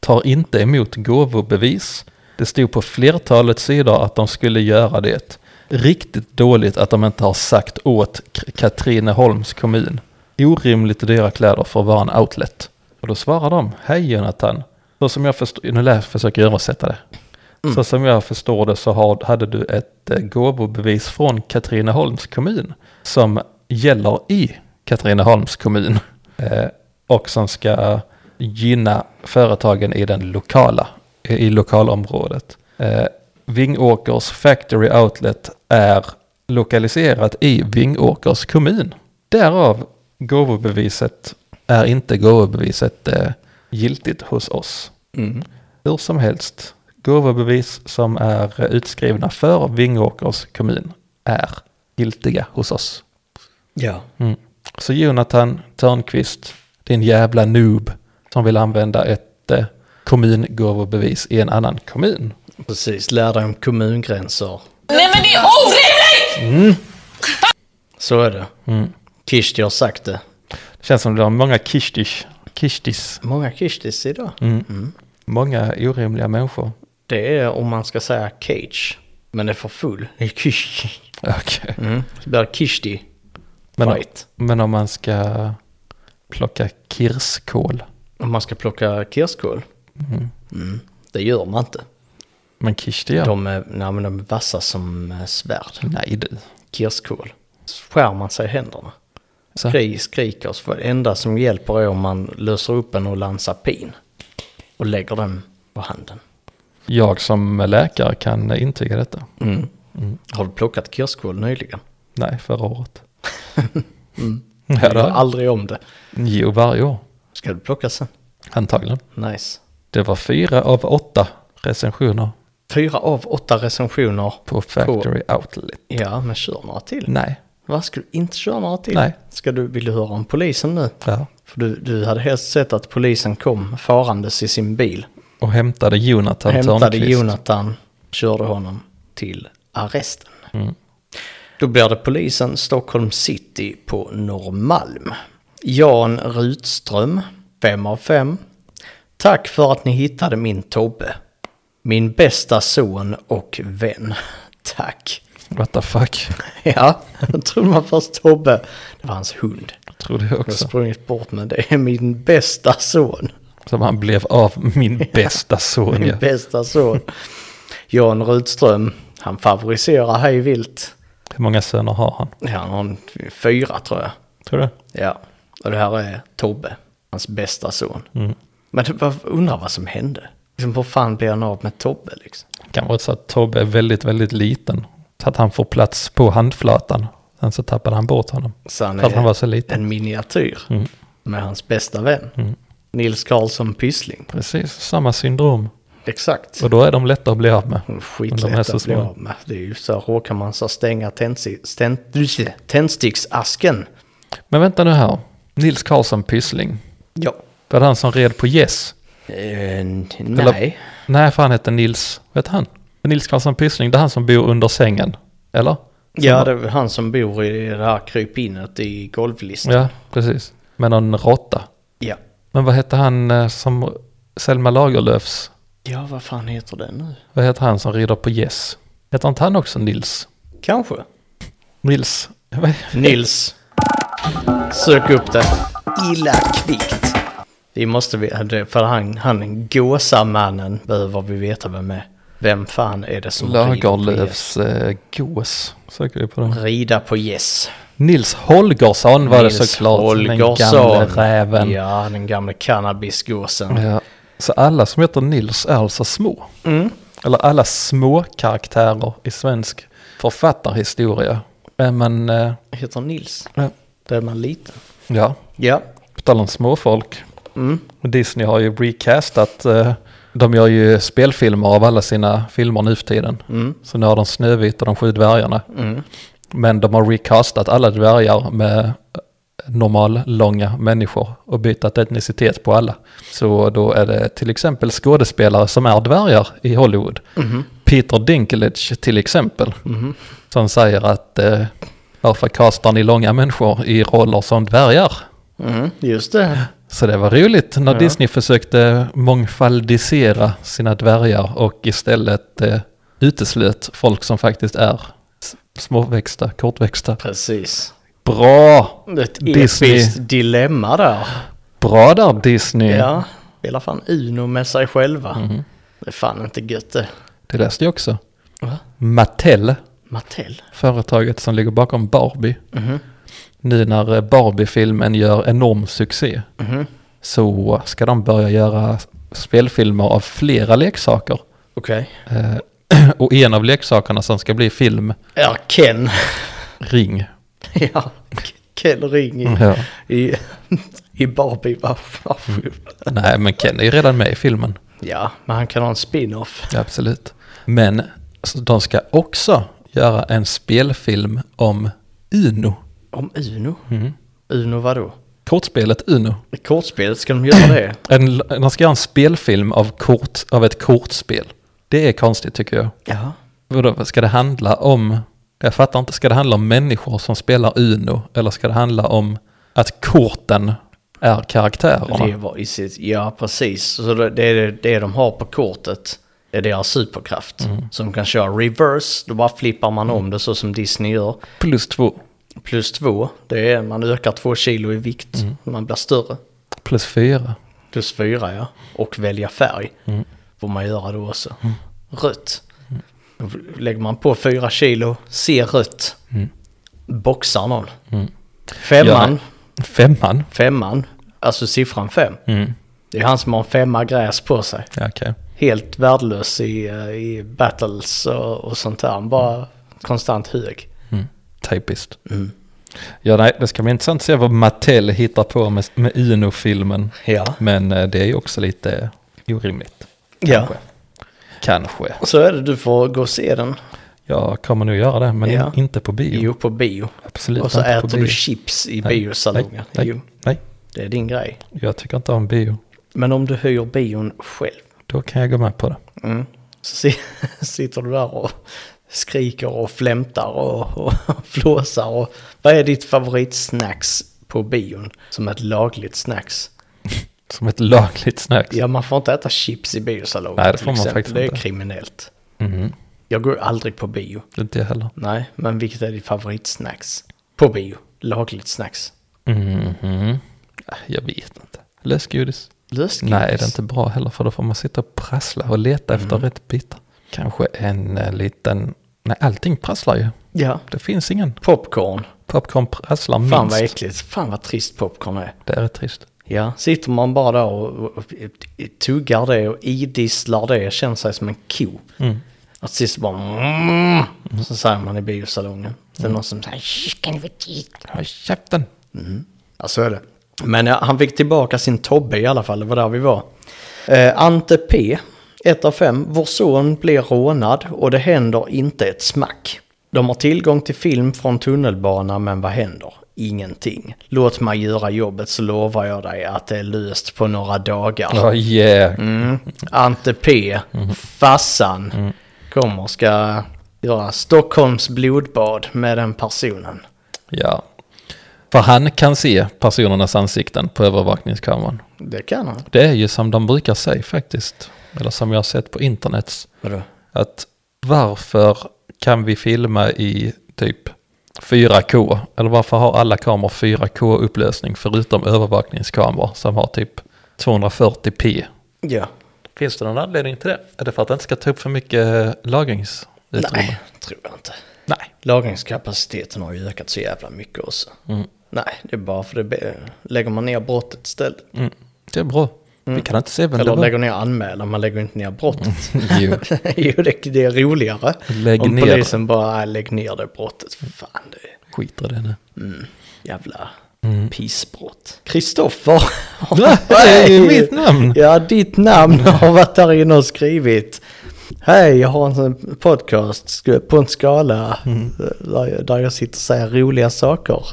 Speaker 1: tar inte emot gåvobevis. Det stod på flertalet sidor att de skulle göra det. Riktigt dåligt att de inte har sagt åt K- Katrineholms kommun. Orimligt dyra kläder för att vara en outlet. Och då svarar de, hej Jonathan. Så som jag förstår, nu läs, försöker jag översätta det. Så som jag förstår det så har, hade du ett eh, gåvobevis från Katrineholms kommun som gäller i Katrineholms kommun eh, och som ska gynna företagen i den lokala, i lokalområdet. Eh, Vingåkers Factory Outlet är lokaliserat i Vingåkers kommun. Därav gåvobeviset är inte gåvobeviset eh, giltigt hos oss. Hur som helst, gåvobevis som är utskrivna för Vingåkers kommun är giltiga hos oss.
Speaker 2: Ja.
Speaker 1: Mm. Så Jonathan Törnqvist, din jävla noob som vill använda ett eh, kommungåvobevis i en annan kommun.
Speaker 2: Precis, lär dig om kommungränser.
Speaker 5: Nej men det är orimligt!
Speaker 2: Så är det. Mm. Kishti har sagt det.
Speaker 1: Det känns som det var många kishtish, kishtis,
Speaker 2: Många kishtis idag.
Speaker 1: många orimliga människor.
Speaker 2: Det är om man ska säga cage. Men det är för full. Det är Kishti.
Speaker 1: Okej.
Speaker 2: Mm. Så blir det kishti.
Speaker 1: Men,
Speaker 2: Fight.
Speaker 1: men om man ska plocka kirskål,
Speaker 2: Om man ska plocka kirskål. Mm. Det gör man inte.
Speaker 1: men kishti ja.
Speaker 2: De, är, nej, men de är vassa som eh, svärd.
Speaker 1: Nej du.
Speaker 2: Kirskål. Så skär man sig i händerna.
Speaker 1: Så.
Speaker 2: Skri, skriker. Så det enda som hjälper är om man löser upp en och lansar pin. Och lägger den på handen.
Speaker 1: Jag som läkare kan intyga detta.
Speaker 2: Har du plockat kirskål nyligen?
Speaker 1: Nej, förra året. mm. Ja, det
Speaker 2: Gör
Speaker 1: har jag.
Speaker 2: aldrig om det.
Speaker 1: Jo, varje år.
Speaker 2: Ska du plocka sen?
Speaker 1: Antagligen.
Speaker 2: Nice.
Speaker 1: Det var fyra av åtta recensioner
Speaker 2: Fyra av åtta recensioner.
Speaker 1: på Factory Outlet.
Speaker 2: Ja, men kör några till.
Speaker 1: Nej.
Speaker 2: Vad ska du inte köra några till?
Speaker 1: Nej.
Speaker 2: Ska du, vill du höra om polisen nu?
Speaker 1: Ja.
Speaker 2: För du, du hade helst sett att polisen kom farandes i sin bil.
Speaker 1: Och hämtade Jonathan
Speaker 2: hämtade
Speaker 1: Törnqvist.
Speaker 2: Jonathan, körde honom till arresten. Då blir det polisen Stockholm city på Norrmalm. Jan Rutström, 5 av 5. Tack för att ni hittade min Tobbe. Min bästa son och vän. Tack.
Speaker 1: What the fuck.
Speaker 2: Ja, jag trodde man först Tobbe. Det var hans hund.
Speaker 1: Trodde jag
Speaker 2: Jag har
Speaker 1: också.
Speaker 2: sprungit bort med det. är Min bästa son.
Speaker 1: Som han blev av min bästa son.
Speaker 2: Min
Speaker 1: ja.
Speaker 2: bästa son. Jan Rutström, han favoriserar hej vilt.
Speaker 1: Hur många söner har han?
Speaker 2: Han har en fyra tror jag.
Speaker 1: Tror du?
Speaker 2: Ja, och det här är Tobbe, hans bästa son.
Speaker 1: Mm.
Speaker 2: Men det- jag undrar vad som hände. Liksom, vad fan blir han av med Tobbe liksom?
Speaker 1: Kan vara så att Tobbe är väldigt, väldigt liten. Så att han får plats på handflatan. Sen så tappade han bort honom.
Speaker 2: Så han
Speaker 1: För att han var
Speaker 2: är
Speaker 1: så liten. Mm.
Speaker 2: en miniatyr med hans bästa vän. Nils Karlsson Pyssling.
Speaker 1: Precis, samma syndrom.
Speaker 2: Exakt.
Speaker 1: Och då är de lätta att bli av med.
Speaker 2: Mm.
Speaker 1: Men de är
Speaker 2: Skitlätt
Speaker 1: så
Speaker 2: att bli
Speaker 1: små.
Speaker 2: av med. Det är ju så här, råkar man så stänga tändsti- ständ- tändsticksasken.
Speaker 1: Men vänta nu här. Nils Karlsson Pyssling.
Speaker 2: Ja.
Speaker 1: Var det han som red på gäss?
Speaker 2: Eh, nej.
Speaker 1: Nej, för han hette Nils, vet han? Nils Karlsson Pyssling, det är han som bor under sängen. Eller?
Speaker 2: Ja, det är väl han som bor i det här krypinet i golvlistan.
Speaker 1: Ja, precis. Med någon råtta.
Speaker 2: Ja.
Speaker 1: Men vad hette han eh, som Selma Lagerlöfs?
Speaker 2: Ja, vad fan heter den nu?
Speaker 1: Vad heter han som rider på gäss? Heter inte han också Nils?
Speaker 2: Kanske.
Speaker 1: Nils? Vad-
Speaker 2: Nils. Sök upp det. Illa kvickt. Vi måste veta, för han, han gåsamannen behöver vi veta vem är. Vem fan är det som
Speaker 1: Lagerlöfs eh, gås söker vi på den.
Speaker 2: rider på gäss? Rida på gäss.
Speaker 1: Nils Holgersson var det
Speaker 2: Nils
Speaker 1: såklart.
Speaker 2: Holgersson.
Speaker 1: Den gamle räven. Ja.
Speaker 2: Ja, den gamle cannabisgåsen.
Speaker 1: Eh, Så alla som heter Nils är alltså små.
Speaker 2: Mm.
Speaker 1: Eller alla små karaktärer i svensk författarhistoria. Är man, eh,
Speaker 2: Heter Nils.
Speaker 1: Ja.
Speaker 2: Då är man liten.
Speaker 1: ja,
Speaker 2: Ja.
Speaker 1: på tal om småfolk.
Speaker 2: Mm.
Speaker 1: Disney har ju recastat, eh, de gör ju spelfilmer av alla sina filmer nu för tiden.
Speaker 2: Mm.
Speaker 1: Så nu har de Snövit och de sju dvärgarna.
Speaker 2: Mm.
Speaker 1: Men de har recastat alla dvärgar med normal långa människor och bytt etnicitet på alla. Så då är det till exempel skådespelare som är dvärgar i Hollywood.
Speaker 2: Mm-hmm.
Speaker 1: Peter Dinklage till exempel. Som säger att eh, varför kastar ni långa människor i roller som dvärgar?
Speaker 2: Mm. Just det.
Speaker 1: Så det var roligt när Disney försökte mångfaldisera sina dvärgar och istället eh, uteslöt folk som faktiskt är s- småväxta, kortväxta.
Speaker 2: Precis.
Speaker 1: Bra!
Speaker 2: Det är ett
Speaker 1: Disney.
Speaker 2: episkt dilemma där.
Speaker 1: Bra där Disney!
Speaker 2: Ja. Mm. Spelar fan Uno med sig själva. Det är fan inte gött det.
Speaker 1: Det läste jag också.
Speaker 2: Va?
Speaker 1: Mattel,
Speaker 2: Mattel?
Speaker 1: företaget som ligger bakom Barbie.
Speaker 2: Mhm.
Speaker 1: Nu när eh, Barbie-filmen gör enorm succé
Speaker 2: Mhm.
Speaker 1: så ska de börja göra spelfilmer av flera leksaker.
Speaker 2: Okej.
Speaker 1: Eh, och en av leksakerna som ska bli film,
Speaker 2: Ja, Ken.
Speaker 1: Ring.
Speaker 2: ja, Ken Ring i,
Speaker 1: Ja.
Speaker 2: i, i Barbie. Varför? varför?
Speaker 1: Nej, men Ken är ju redan med i filmen.
Speaker 2: Ja, men han kan ha en spin-off.
Speaker 1: Absolut. Men så de ska också göra en spelfilm om Uno.
Speaker 2: Om Uno? Uno vadå?
Speaker 1: Kortspelet Uno.
Speaker 2: I kortspelet ska de göra det?
Speaker 1: En, de ska göra en spelfilm av, kort, av ett kortspel. Det är konstigt tycker jag.
Speaker 2: ja.
Speaker 1: Vadå, ska det handla om... Jag fattar inte, ska det handla om människor som spelar Uno? Eller ska det handla om att korten är karaktärerna?
Speaker 2: Det var i sitt, ja, precis. Så det, det är det de har på kortet. Det är deras superkraft. Så de kan köra reverse, då bara flippar man om det så som Disney gör.
Speaker 1: Plus två.
Speaker 2: Plus två, det är man ökar två kilo i vikt. Man blir större.
Speaker 1: Plus fyra.
Speaker 2: Plus fyra ja. Och välja färg. Får man göra då också. Rött. Då lägger man på fyra kilo, ser rött. Boxar någon. Femman,
Speaker 1: Femman.
Speaker 2: femman, alltså siffran fem. Det är han som har en femma gräs på sig.
Speaker 1: Ja, okej.
Speaker 2: Helt värdelös i, eh, i battles och, och sånt där. Han bara konstant hög.
Speaker 1: Typiskt.
Speaker 2: Mm.
Speaker 1: Ja, nej, det ska bli intressant att se vad Mattel hittar på med, med Uno-filmen.
Speaker 2: Ja.
Speaker 1: Men eh, det är ju också lite orimligt.
Speaker 2: ja.
Speaker 1: Kanske.
Speaker 2: Så är det, du får gå och se den.
Speaker 1: Jag kommer nog göra det, men
Speaker 2: Ja.
Speaker 1: in, inte på bio.
Speaker 2: Jo, på bio.
Speaker 1: Absolut
Speaker 2: Och så
Speaker 1: inte på
Speaker 2: äter
Speaker 1: bio.
Speaker 2: du chips i
Speaker 1: Nej,
Speaker 2: biosalongen.
Speaker 1: Nej,
Speaker 2: Jo,
Speaker 1: nej, nej,
Speaker 2: det är din grej.
Speaker 1: jag tycker inte om bio.
Speaker 2: Men om du höjer bion själv
Speaker 1: Då kan jag gå med på det.
Speaker 2: så si- sitter du där och skriker och flämtar och, och flåsar. Och, vad är ditt favoritsnacks på bion som ett lagligt snacks?
Speaker 1: Som ett lagligt snacks.
Speaker 2: Ja, man får inte äta chips i biosalongen
Speaker 1: Nej, det får
Speaker 2: till
Speaker 1: man
Speaker 2: exempel.
Speaker 1: faktiskt
Speaker 2: Det är
Speaker 1: inte.
Speaker 2: kriminellt.
Speaker 1: Mhm.
Speaker 2: Jag går aldrig på bio.
Speaker 1: Inte jag heller.
Speaker 2: Nej, men vilket är ditt favoritsnacks? På bio. Lagligt snacks.
Speaker 1: Mhm. Ah, Jag vet inte. Lösgodis.
Speaker 2: Lösgodis.
Speaker 1: Nej, det är inte bra heller för då får man sitta och prassla och leta
Speaker 2: Mm.
Speaker 1: efter rätt bitar. Kanske en eh, liten... Nej, allting prasslar ju.
Speaker 2: Ja.
Speaker 1: Det finns ingen.
Speaker 2: Popcorn.
Speaker 1: Popcorn prasslar
Speaker 2: Fan
Speaker 1: minst.
Speaker 2: vad äckligt. Fan vad trist popcorn är.
Speaker 1: Det är rätt trist.
Speaker 2: Ja, sitter man bara där och, och, och tuggar det och idisslar det, känner sig som en ko. Att sist bara mm, så säger man i biosalongen. Sen
Speaker 1: Mm.
Speaker 2: någon som säger "Shh, kan du få titta?"
Speaker 1: Håll käften.
Speaker 2: Ja, så är det. Men ja, han fick tillbaka sin Tobbe i alla fall, det var där vi var. Eh, Ante P, 1 av 5. Vår son blir rånad och det händer inte ett smack. De har tillgång till film från tunnelbana, men vad händer? Ingenting. Låt mig göra jobbet så lovar jag dig att det är löst på några dagar.
Speaker 1: Ja, Oh, yeah.
Speaker 2: Mm. Ante P, Fassan, kommer och ska göra Stockholms blodbad med den personen.
Speaker 1: Ja. För han kan se personernas ansikten på övervakningskameran.
Speaker 2: Det kan han.
Speaker 1: Det är ju som de brukar säga faktiskt. Eller som jag har sett på internet.
Speaker 2: Vadå?
Speaker 1: Att varför kan vi filma i typ 4K? Eller varför har alla kameror 4K-upplösning förutom övervakningskameror som har typ 240p.
Speaker 2: Ja.
Speaker 1: Finns det någon anledning till det? Är det för att det inte ska ta upp för mycket eh, lagringsutrymme?
Speaker 2: Nej, tror jag inte.
Speaker 1: Nej.
Speaker 2: Lagringskapaciteten har ju ökat så jävla mycket också.
Speaker 1: Mm.
Speaker 2: Nej, det är bara för det be- lägger man ner brottet istället.
Speaker 1: Mm. Det är bra. Vi kan inte se vem
Speaker 2: Mm. Eller
Speaker 1: det var.
Speaker 2: lägger ner anmälan, man lägger inte ner brottet.
Speaker 1: Jo.
Speaker 2: jo, det, det är roligare.
Speaker 1: Lägg
Speaker 2: om
Speaker 1: ner.
Speaker 2: polisen bara, "Nej, lägg ner det brottet. För fan, det är
Speaker 1: Skiter i det nu.
Speaker 2: jävla
Speaker 1: Mm.
Speaker 2: pissbrott. Kristoffer!
Speaker 1: Nej, mitt namn! Mm.
Speaker 2: Ja, ditt namn har varit där inne och skrivit. Hej, jag har en sån podcast sk- på en skala
Speaker 1: Mm.
Speaker 2: eh, där, jag, där jag sitter och säger roliga saker.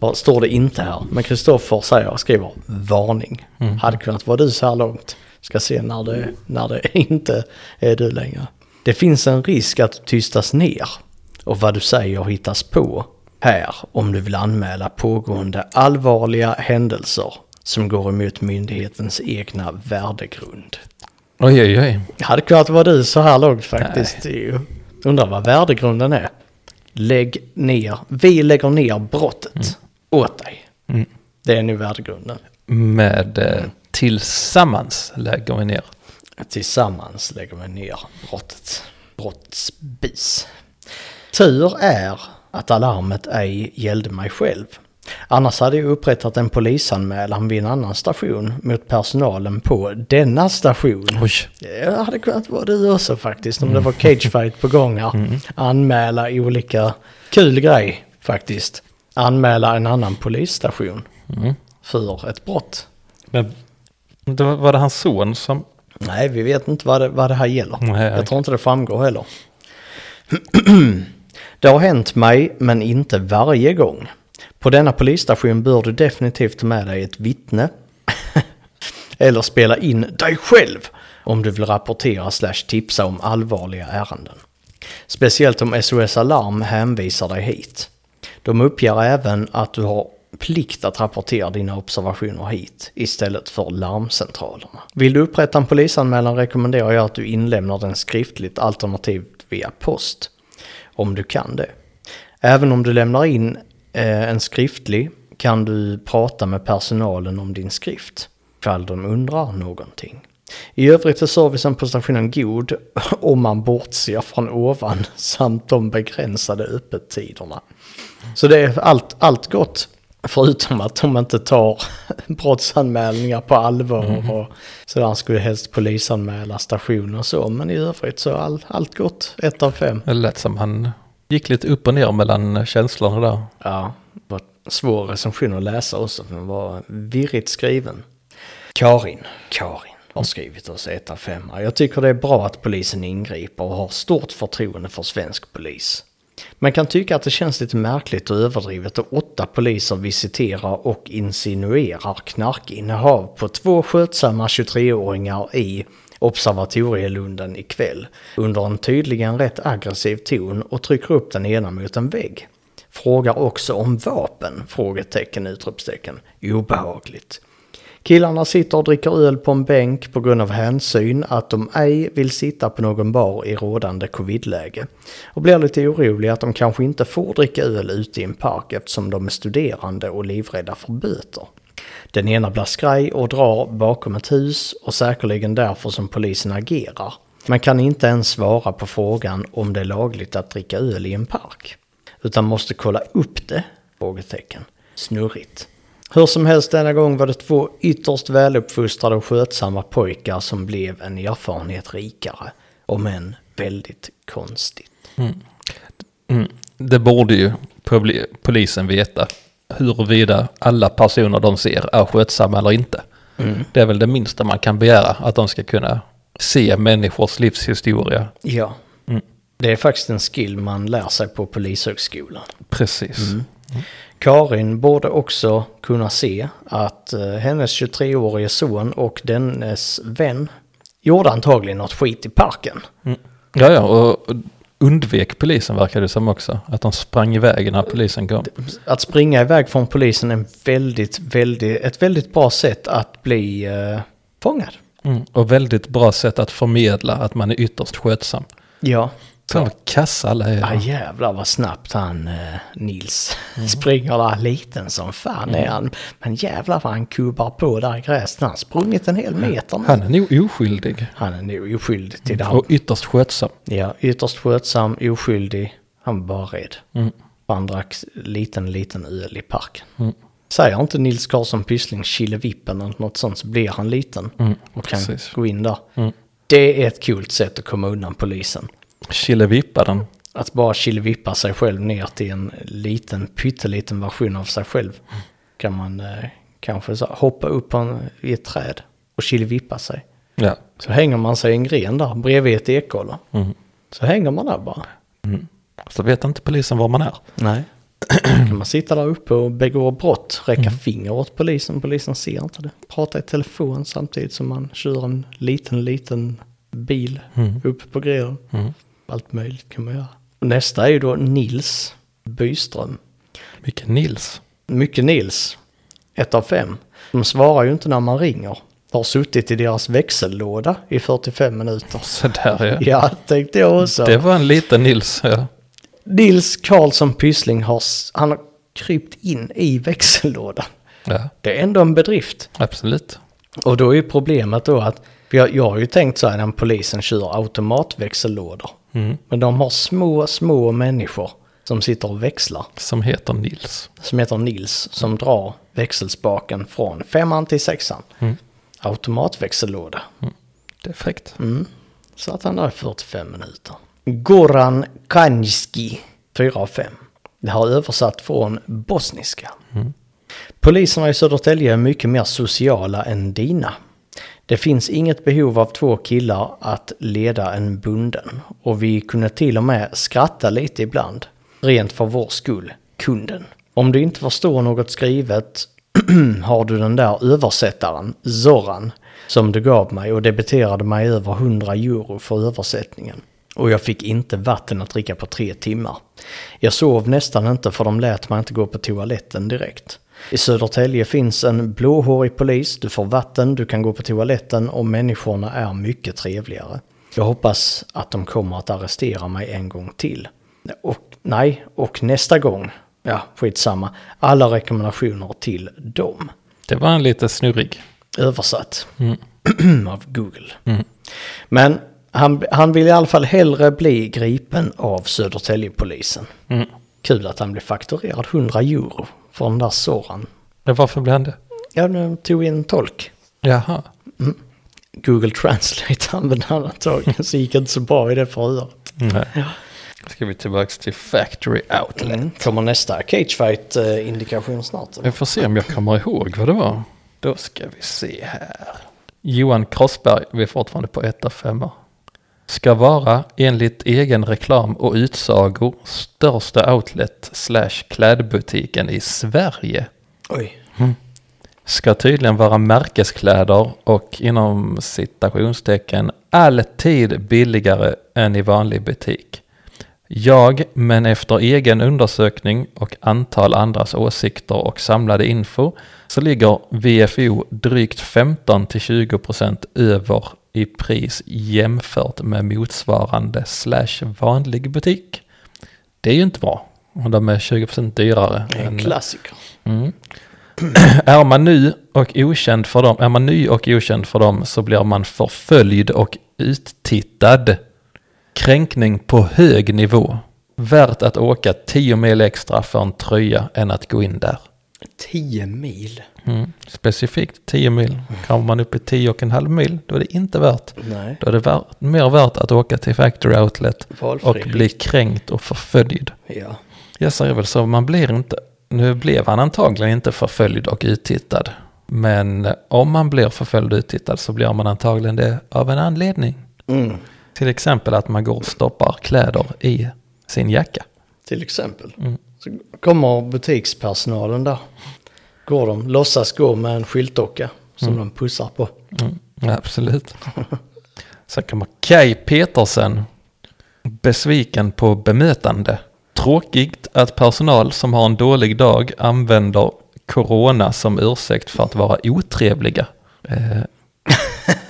Speaker 2: Ja, Står det inte här, men Kristoffer säger, skriver varning.
Speaker 1: Mm.
Speaker 2: Hade kunnat vara du så här långt. Ska se när det, när det inte är du längre. Det finns en risk att du tystas ner och vad du säger hittas på här om du vill anmäla pågående allvarliga händelser som går emot myndighetens egna värdegrund.
Speaker 1: Oj, oj, oj.
Speaker 2: Det hade kunnat vara du så här långt faktiskt. Det är ju- Undrar vad värdegrunden är. Lägg ner, vi lägger ner brottet åt dig. Det är nu värdegrunden.
Speaker 1: Med eh, tillsammans lägger vi ner.
Speaker 2: Tillsammans lägger vi ner brottet. Brottsbis. Tur är att alarmet ej gällde mig själv. Annars hade jag upprättat en polisanmälan vid en annan station mot personalen på denna station.
Speaker 1: Oj.
Speaker 2: Det hade kunnat vara du också faktiskt om det var cagefight på gång här. Anmäla i olika... Kul grej faktiskt. Anmäla en annan polisstation för ett brott.
Speaker 1: Men det var, var det hans son som...
Speaker 2: Nej, vi vet inte vad det, vad det här gäller.
Speaker 1: Nej,
Speaker 2: jag
Speaker 1: okej.
Speaker 2: tror inte det framgår heller. det har hänt mig, men inte varje gång. På denna polisstation bör du definitivt ta med dig ett vittne. Eller spela in dig själv om du vill rapportera slash tipsa om allvarliga ärenden. Speciellt om SOS Alarm hänvisar dig hit. De uppger även att du har plikt att rapportera dina observationer hit istället för larmcentralerna. Vill du upprätta en polisanmälan rekommenderar jag att du inlämnar den skriftligt alternativt via post. Om du kan det. Även om du lämnar in eh, en skriftlig kan du prata med personalen om din skrift ifall de undrar någonting. I övrigt är servicen på stationen god om man bortser från ovan samt de begränsade öppettiderna. Så det är allt, allt gott. Förutom att de inte tar brottsanmälningar på allvar och sådär skulle helst polisanmäla stationer och så. Men i övrigt så är all, allt gott, ett av fem.
Speaker 1: Det lät som han gick lite upp och ner mellan känslorna där.
Speaker 2: Ja, det var en svår recension att läsa också, för den var virrigt skriven. Karin, Karin har skrivit oss ett av fem. Jag tycker det är bra att polisen ingriper och har stort förtroende för svensk polis. Man kan tycka att det känns lite märkligt och överdrivet att åtta poliser visiterar och insinuerar knarkinnehav på två skötsamma 23-åringar i Observatorielunden ikväll under en tydligen rätt aggressiv ton och trycker upp den ena mot en vägg. Frågar också om vapen? Frågetecken, utropstecken. Obehagligt. Killarna sitter och dricker öl på en bänk på grund av hänsyn att de ej vill sitta på någon bar i rådande covidläge. Och blir lite oroliga att de kanske inte får dricka öl ute i en park eftersom de är studerande och livrädda för böter. Den ena blir skraj och drar bakom ett hus och säkerligen därför som polisen agerar. Man kan inte ens svara på frågan om det är lagligt att dricka öl i en park utan måste kolla upp det? Frågetecken. Snurrigt. Hur som helst denna gång var det två ytterst väluppfostrade och skötsamma pojkar som blev en erfarenhet rikare. Om än väldigt konstigt.
Speaker 1: Mm. Det borde ju publi- polisen veta huruvida alla personer de ser är skötsamma eller inte. Det är väl det minsta man kan begära, att de ska kunna se människors livshistoria.
Speaker 2: Ja. Det är faktiskt en skill man lär sig på polishögskolan.
Speaker 1: Precis.
Speaker 2: Karin borde också kunna se att eh, hennes 23-årige son och dennes vän gjorde antagligen något skit i parken.
Speaker 1: Ja, ja, och undvek polisen verkar det som också. Att de sprang iväg när polisen kom.
Speaker 2: att springa iväg från polisen är en väldigt, väldigt, ett väldigt bra sätt att bli eh, fångad.
Speaker 1: Mm. Och väldigt bra sätt att förmedla att man är ytterst skötsam.
Speaker 2: Ja,
Speaker 1: Fan vad kassa alla är.
Speaker 2: Ja Ah, jävlar vad snabbt han eh, Nils springer där. Liten som fan är han. Men jävlar vad han kubbar på där i gräset. Han har sprungit en hel meter nu.
Speaker 1: Han är nog oskyldig.
Speaker 2: Han är nog oskyldig till det här.
Speaker 1: Och ytterst skötsam.
Speaker 2: Ja, ytterst skötsam, oskyldig. Han var bara rädd. Han drack liten, liten öl i parken. Säger inte Nils Karlsson Pyssling Killevippen eller något sånt så blir han liten och kan
Speaker 1: precis.
Speaker 2: gå in där. Det är ett coolt sätt att komma undan polisen.
Speaker 1: Killevippa den.
Speaker 2: Att bara killvippa sig själv ner till en liten, pytteliten version av sig själv. Kan man eh, kanske så, här hoppa upp på en, i ett träd och killvippa sig.
Speaker 1: Ja.
Speaker 2: Så hänger man sig i en gren där bredvid ett ekollon. Så hänger man där bara.
Speaker 1: Mm. Så vet inte polisen var man är.
Speaker 2: Nej. kan man sitta där uppe och begå brott, räcka
Speaker 1: Mm.
Speaker 2: finger åt polisen, polisen ser inte det. Prata i telefon samtidigt som man kör en liten, liten bil
Speaker 1: Mm.
Speaker 2: upp på grenen. Allt möjligt kan man göra. Nästa är ju då Nils Byström.
Speaker 1: Vilken Nils.
Speaker 2: Mycket Nils, ett av fem. De svarar ju inte när man ringer. Har suttit i deras växellåda i 45 minuter.
Speaker 1: Så där ja.
Speaker 2: Ja, tänkte jag också.
Speaker 1: Det var en liten Nils. Ja.
Speaker 2: Nils Karlsson Pyssling har, s- han har krypt in i växellådan.
Speaker 1: ja.
Speaker 2: Det är ändå en bedrift.
Speaker 1: Absolut.
Speaker 2: Och då är ju problemet då att, för jag, jag har ju tänkt så här när polisen kör automatväxellådor. Men de har små, små människor som sitter och växlar,
Speaker 1: Som heter Nils.
Speaker 2: som heter Nils, som drar växelspaken från femman till sexan. Automatväxellåda.
Speaker 1: Det är fräckt.
Speaker 2: Satt han där i 45 minuter. Goran Kanjski, 4 av 5. Det här är översatt från bosniska. Poliserna i Södertälje är mycket mer sociala än dina. Det finns inget behov av två killar att leda en bunden. Och vi kunde till och med skratta lite ibland. Rent för vår skull, kunden. Om du inte förstår något skrivet har du den där översättaren, Zoran, som du gav mig och debiterade mig över 100 euro för översättningen. Och jag fick inte vatten att dricka på tre timmar. Jag sov nästan inte för de lät mig inte gå på toaletten direkt. I Södertälje finns en blåhårig polis, du får vatten, du kan gå på toaletten och människorna är mycket trevligare. Jag hoppas att de kommer att arrestera mig en gång till. Och nej, och nästa gång, ja skitsamma, alla rekommendationer till dem.
Speaker 1: Det var en lite snurrig.
Speaker 2: Översatt av Google. Men han, han vill i alla fall hellre bli gripen av Södertäljepolisen. Kul att han blev fakturerad 100 euro för den där Soran.
Speaker 1: Ja, varför blev han det?
Speaker 2: Ja, de tog in en tolk.
Speaker 1: Jaha.
Speaker 2: Google Translate använde han antagligen, så gick inte så bra i det förhöret.
Speaker 1: Nej. Ska vi tillbaks till Factory Outlet.
Speaker 2: Kommer nästa cagefight-indikation snart? eller?
Speaker 1: Jag får se om jag kommer ihåg vad det var. Då ska vi se här. Johan Krossberg, vi är fortfarande på 1 femma. Ska vara, enligt egen reklam och utsagor, största outlet slash klädbutiken i Sverige.
Speaker 2: Oj.
Speaker 1: Ska tydligen vara märkeskläder och inom citationstecken alltid billigare än i vanlig butik. Jag, men efter egen undersökning och antal andras åsikter och samlade info, så ligger VFO drygt 15-20% över i pris jämfört med motsvarande slash vanlig butik. Det är ju inte bra. Och de är 20% dyrare.
Speaker 2: Det är en
Speaker 1: än-
Speaker 2: klassiker.
Speaker 1: är man ny och okänd för dem, är man ny och okänd för dem så blir man förföljd och uttittad. Kränkning på hög nivå. Värt att åka 10 mil extra för en tröja än att gå in där.
Speaker 2: 10 mil.
Speaker 1: Mm. Specifikt 10 mil. Kommer man upp i 10 och en halv mil, då är det inte värt.
Speaker 2: Nej.
Speaker 1: Då är det värt, mer värt att åka till Factory Outlet
Speaker 2: Valfri
Speaker 1: och bli kränkt och förföljd.
Speaker 2: Ja.
Speaker 1: Jag säger väl så, man blir inte, nu blev han antagligen inte förföljd och uttittad. Men eh, om man blir förföljd och uttittad så blir man antagligen det av en anledning.
Speaker 2: Mm.
Speaker 1: Till exempel att man går och stoppar kläder i sin jacka.
Speaker 2: Till exempel. Så kommer butikspersonalen där. Går de, låtsas gå med en skyltdocka som de pussar på.
Speaker 1: Ja, absolut. Sen kommer Kai Petersen. Besviken på bemötande. Tråkigt att personal som har en dålig dag använder corona som ursäkt för att vara otrevliga. Eh,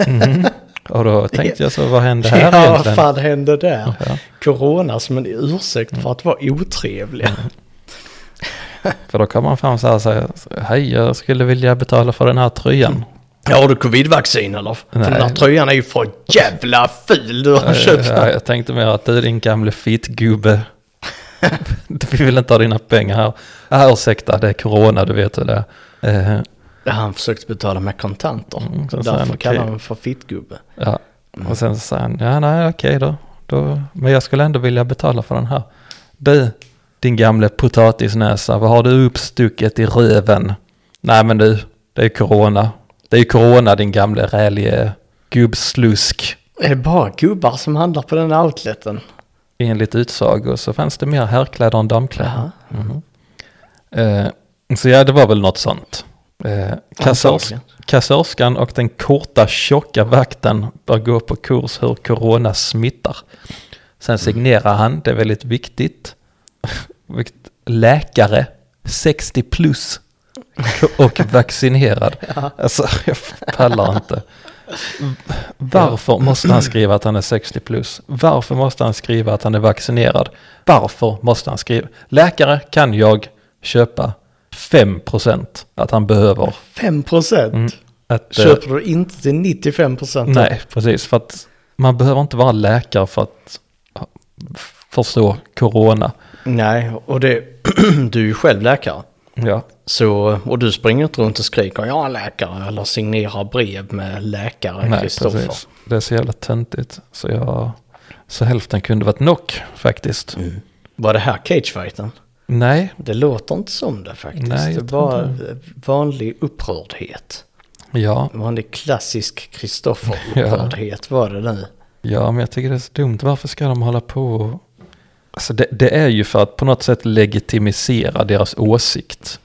Speaker 1: mhm. Och då tänkte jag så, vad hände här
Speaker 2: ja, vad
Speaker 1: egentligen?
Speaker 2: fan hände där?
Speaker 1: Ja,
Speaker 2: Corona som en ursäkt för att vara otrevliga.
Speaker 1: för då kom han fram så här och säger, hej jag skulle vilja betala för den här tröjan.
Speaker 2: Ja, har du covidvaccin eller? För
Speaker 1: Nej.
Speaker 2: den där tröjan är ju för jävla ful du har köpt.
Speaker 1: Eh, Ja, jag tänkte mer att du din gamle fittgubbe. Vi vill inte ha dina pengar här. Ah, ursäkta, det är corona, du vet hur det är. Eh,
Speaker 2: Han försökte betala med kontanter.
Speaker 1: Mm,
Speaker 2: så
Speaker 1: så sa
Speaker 2: därför
Speaker 1: han,
Speaker 2: kallar
Speaker 1: okej.
Speaker 2: han honom för fittgubbe.
Speaker 1: ja. Och sen så sa han, ja nej okej då. då. Men jag skulle ändå vilja betala för den här. Du, din gamle potatisnäsa, vad har du uppstucket i röven? Nej men du, det är corona. Det är ju corona din gamle rälige gubbslusk.
Speaker 2: Är det bara gubbar som handlar på den här outleten?
Speaker 1: Enligt utsago så fanns det mer herrkläder än damkläder. Mhm.
Speaker 2: Jaha.
Speaker 1: Eh, så ja, det var väl något sånt. Eh, kassörs
Speaker 2: Antagligen.
Speaker 1: kassörskan och den korta tjocka vakten bör gå på kurs hur corona smittar. Sen signerar han, det är väldigt viktigt. Vilket- Läkare, 60 plus och vaccinerad. Alltså, jag pallar inte. Varför måste han skriva att han är 60 plus? Varför måste han skriva att han är vaccinerad? Varför måste han skriva? Läkare kan jag köpa 5% att han behöver.
Speaker 2: 5 procent?
Speaker 1: Att, eh,
Speaker 2: Köper du inte till 95 procent?
Speaker 1: Nej, precis. För att man behöver inte vara läkare för att ja, f- förstå corona.
Speaker 2: Nej, och det, du är ju själv läkare.
Speaker 1: Ja,
Speaker 2: Så, och du springer inte runt och skriker jag är läkare eller signerar brev med läkare
Speaker 1: nej,
Speaker 2: Kristoffer.
Speaker 1: precis. Det är så jävla töntigt. Så, jag, så hälften kunde varit knock faktiskt.
Speaker 2: Var det här cagefighten?
Speaker 1: Nej,
Speaker 2: Det låter inte som det faktiskt.
Speaker 1: Nej, jag
Speaker 2: det
Speaker 1: tror
Speaker 2: var vanlig upprördhet.
Speaker 1: ja,
Speaker 2: Vanlig klassisk
Speaker 1: Ja.
Speaker 2: Kristoffer-upprördhet var det nu.
Speaker 1: ja, men jag tycker det är så dumt. Varför ska de hålla på och... Alltså det, det är ju för att på något sätt legitimisera deras åsikt.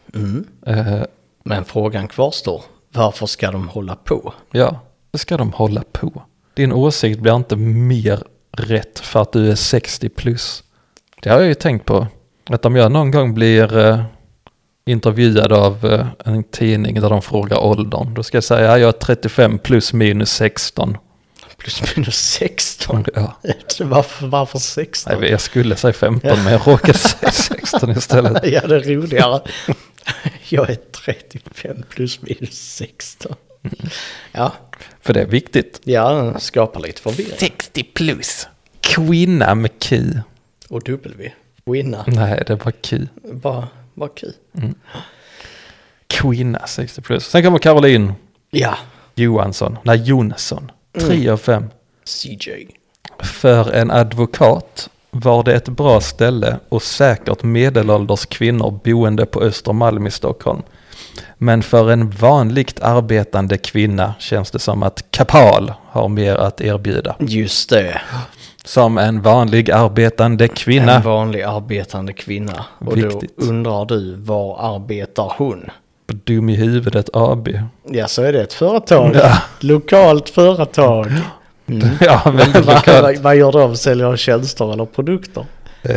Speaker 1: Eh,
Speaker 2: Men frågan kvarstår. Varför ska de hålla på?
Speaker 1: Ja, det ska de hålla på. Din åsikt blir inte mer rätt för att du är 60 plus. Det har jag ju tänkt på. Att om jag någon gång blir eh, intervjuad av eh, en tidning där de frågar åldern, då ska jag säga jag är 35 plus minus 16.
Speaker 2: Plus minus 16.
Speaker 1: Ja.
Speaker 2: Varför, varför
Speaker 1: Nej,
Speaker 2: 16?
Speaker 1: men jag skulle säga 15 men jag råkade säga 16 istället.
Speaker 2: Ja, det är roligare. Jag är 35 plus minus 16. Ja,
Speaker 1: För det är viktigt.
Speaker 2: ja den skapar lite förvirring.
Speaker 1: 60 plus. Kvinna med Q.
Speaker 2: Och W. Winna.
Speaker 1: Nej, det var Q.
Speaker 2: Bara, bara kul.
Speaker 1: Kvinna 60 plus. Sen kommer Caroline.
Speaker 2: Ja,
Speaker 1: Johansson, nej Jonsson, 3 av 5.
Speaker 2: CJ.
Speaker 1: För en advokat var det ett bra ställe och säkert medelålders kvinnor boende på Östermalm i Stockholm. Men för en vanligt arbetande kvinna känns det som att Kapal har mer att erbjuda.
Speaker 2: Just det.
Speaker 1: Som en vanlig arbetande
Speaker 2: En
Speaker 1: kvinna.
Speaker 2: vanlig arbetande kvinna. Och
Speaker 1: Viktigt.
Speaker 2: då undrar du, var arbetar hon?
Speaker 1: Dum i huvudet AB.
Speaker 2: Ja, så är det ett företag.
Speaker 1: Ja.
Speaker 2: Lokalt företag.
Speaker 1: Ja, väldigt
Speaker 2: vad, vad,
Speaker 1: lokalt.
Speaker 2: vad gör de? Säljer de tjänster eller produkter?
Speaker 1: Eh,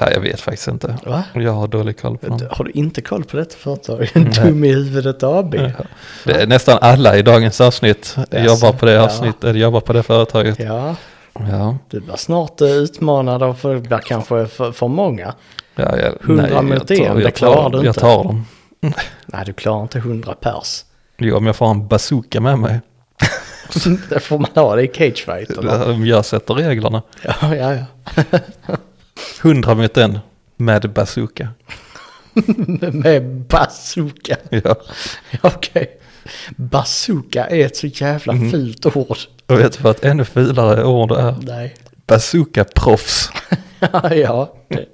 Speaker 1: nej, jag vet faktiskt inte.
Speaker 2: Va?
Speaker 1: Jag har dålig koll på dem.
Speaker 2: Har du inte koll på detta företag? Dum i huvudet AB.
Speaker 1: Det är nästan alla i dagens avsnitt jobbar på det
Speaker 2: ja.
Speaker 1: avsnittet, eller jobbar på det företaget.
Speaker 2: Ja,
Speaker 1: Ja,
Speaker 2: du blir snart eh, utmanad av för, det blir kanske för, för många.
Speaker 1: ja, ja
Speaker 2: Hundra mot en, det
Speaker 1: jag
Speaker 2: klarar du
Speaker 1: jag
Speaker 2: inte.
Speaker 1: tar dem.
Speaker 2: Nej, du klarar inte 100 pers.
Speaker 1: Jo, om jag får en bazooka med mig.
Speaker 2: det får man ha, det är cagefighterna.
Speaker 1: Om jag sätter reglerna.
Speaker 2: Ja, ja, ja.
Speaker 1: Hundra mot en med bazooka.
Speaker 2: Med bazooka.
Speaker 1: Ja,
Speaker 2: Ja, Okej. Bazooka är ett så jävla
Speaker 1: Mhm.
Speaker 2: fult ord.
Speaker 1: och vet du vad ett ännu fulare ord är?
Speaker 2: Nej.
Speaker 1: Bazooka-proffs.
Speaker 2: ja, det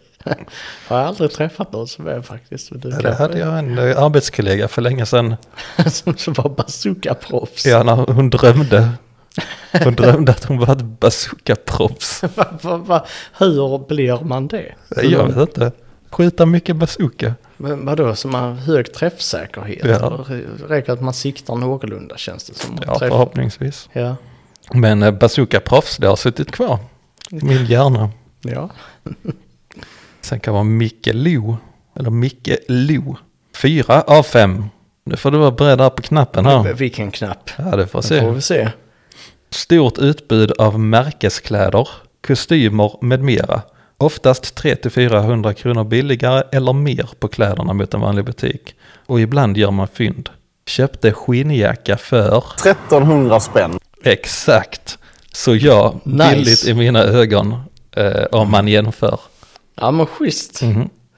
Speaker 2: har jag aldrig träffat någon som är faktiskt. Men du
Speaker 1: Ja, Det
Speaker 2: kanske-
Speaker 1: hade jag en eh, arbetskollega för länge sedan.
Speaker 2: som, som var bazookaproffs.
Speaker 1: Ja, när hon drömde. Hon drömde att hon var ett bazooka-proffs.
Speaker 2: Va, va, va, hur blir man det?
Speaker 1: Jag vet inte. Skjuta mycket bazooka.
Speaker 2: Men vadå, som har hög träffsäkerhet?
Speaker 1: Ja.
Speaker 2: Eller räcker att man siktar någorlunda känns det som.
Speaker 1: Ja,
Speaker 2: Träff-
Speaker 1: förhoppningsvis.
Speaker 2: ja.
Speaker 1: Men eh, bazooka-proffs, det har suttit kvar i min hjärna.
Speaker 2: ja.
Speaker 1: Sen kan vara Micke Lo, eller Micke Lo. Fyra av fem. Nu får du vara beredd här på knappen här.
Speaker 2: Vilken knapp.
Speaker 1: Ja, det får
Speaker 2: Får
Speaker 1: se.
Speaker 2: vi se.
Speaker 1: Stort utbud av märkeskläder, kostymer med mera. Oftast 300-400 kronor billigare eller mer på kläderna mot en vanlig butik. Och ibland gör man fynd. Köpte skinnjacka för
Speaker 4: 1300 spänn.
Speaker 1: exakt. Så ja,
Speaker 2: Nice.
Speaker 1: billigt i mina ögon eh, om man jämför.
Speaker 2: Ja men schysst.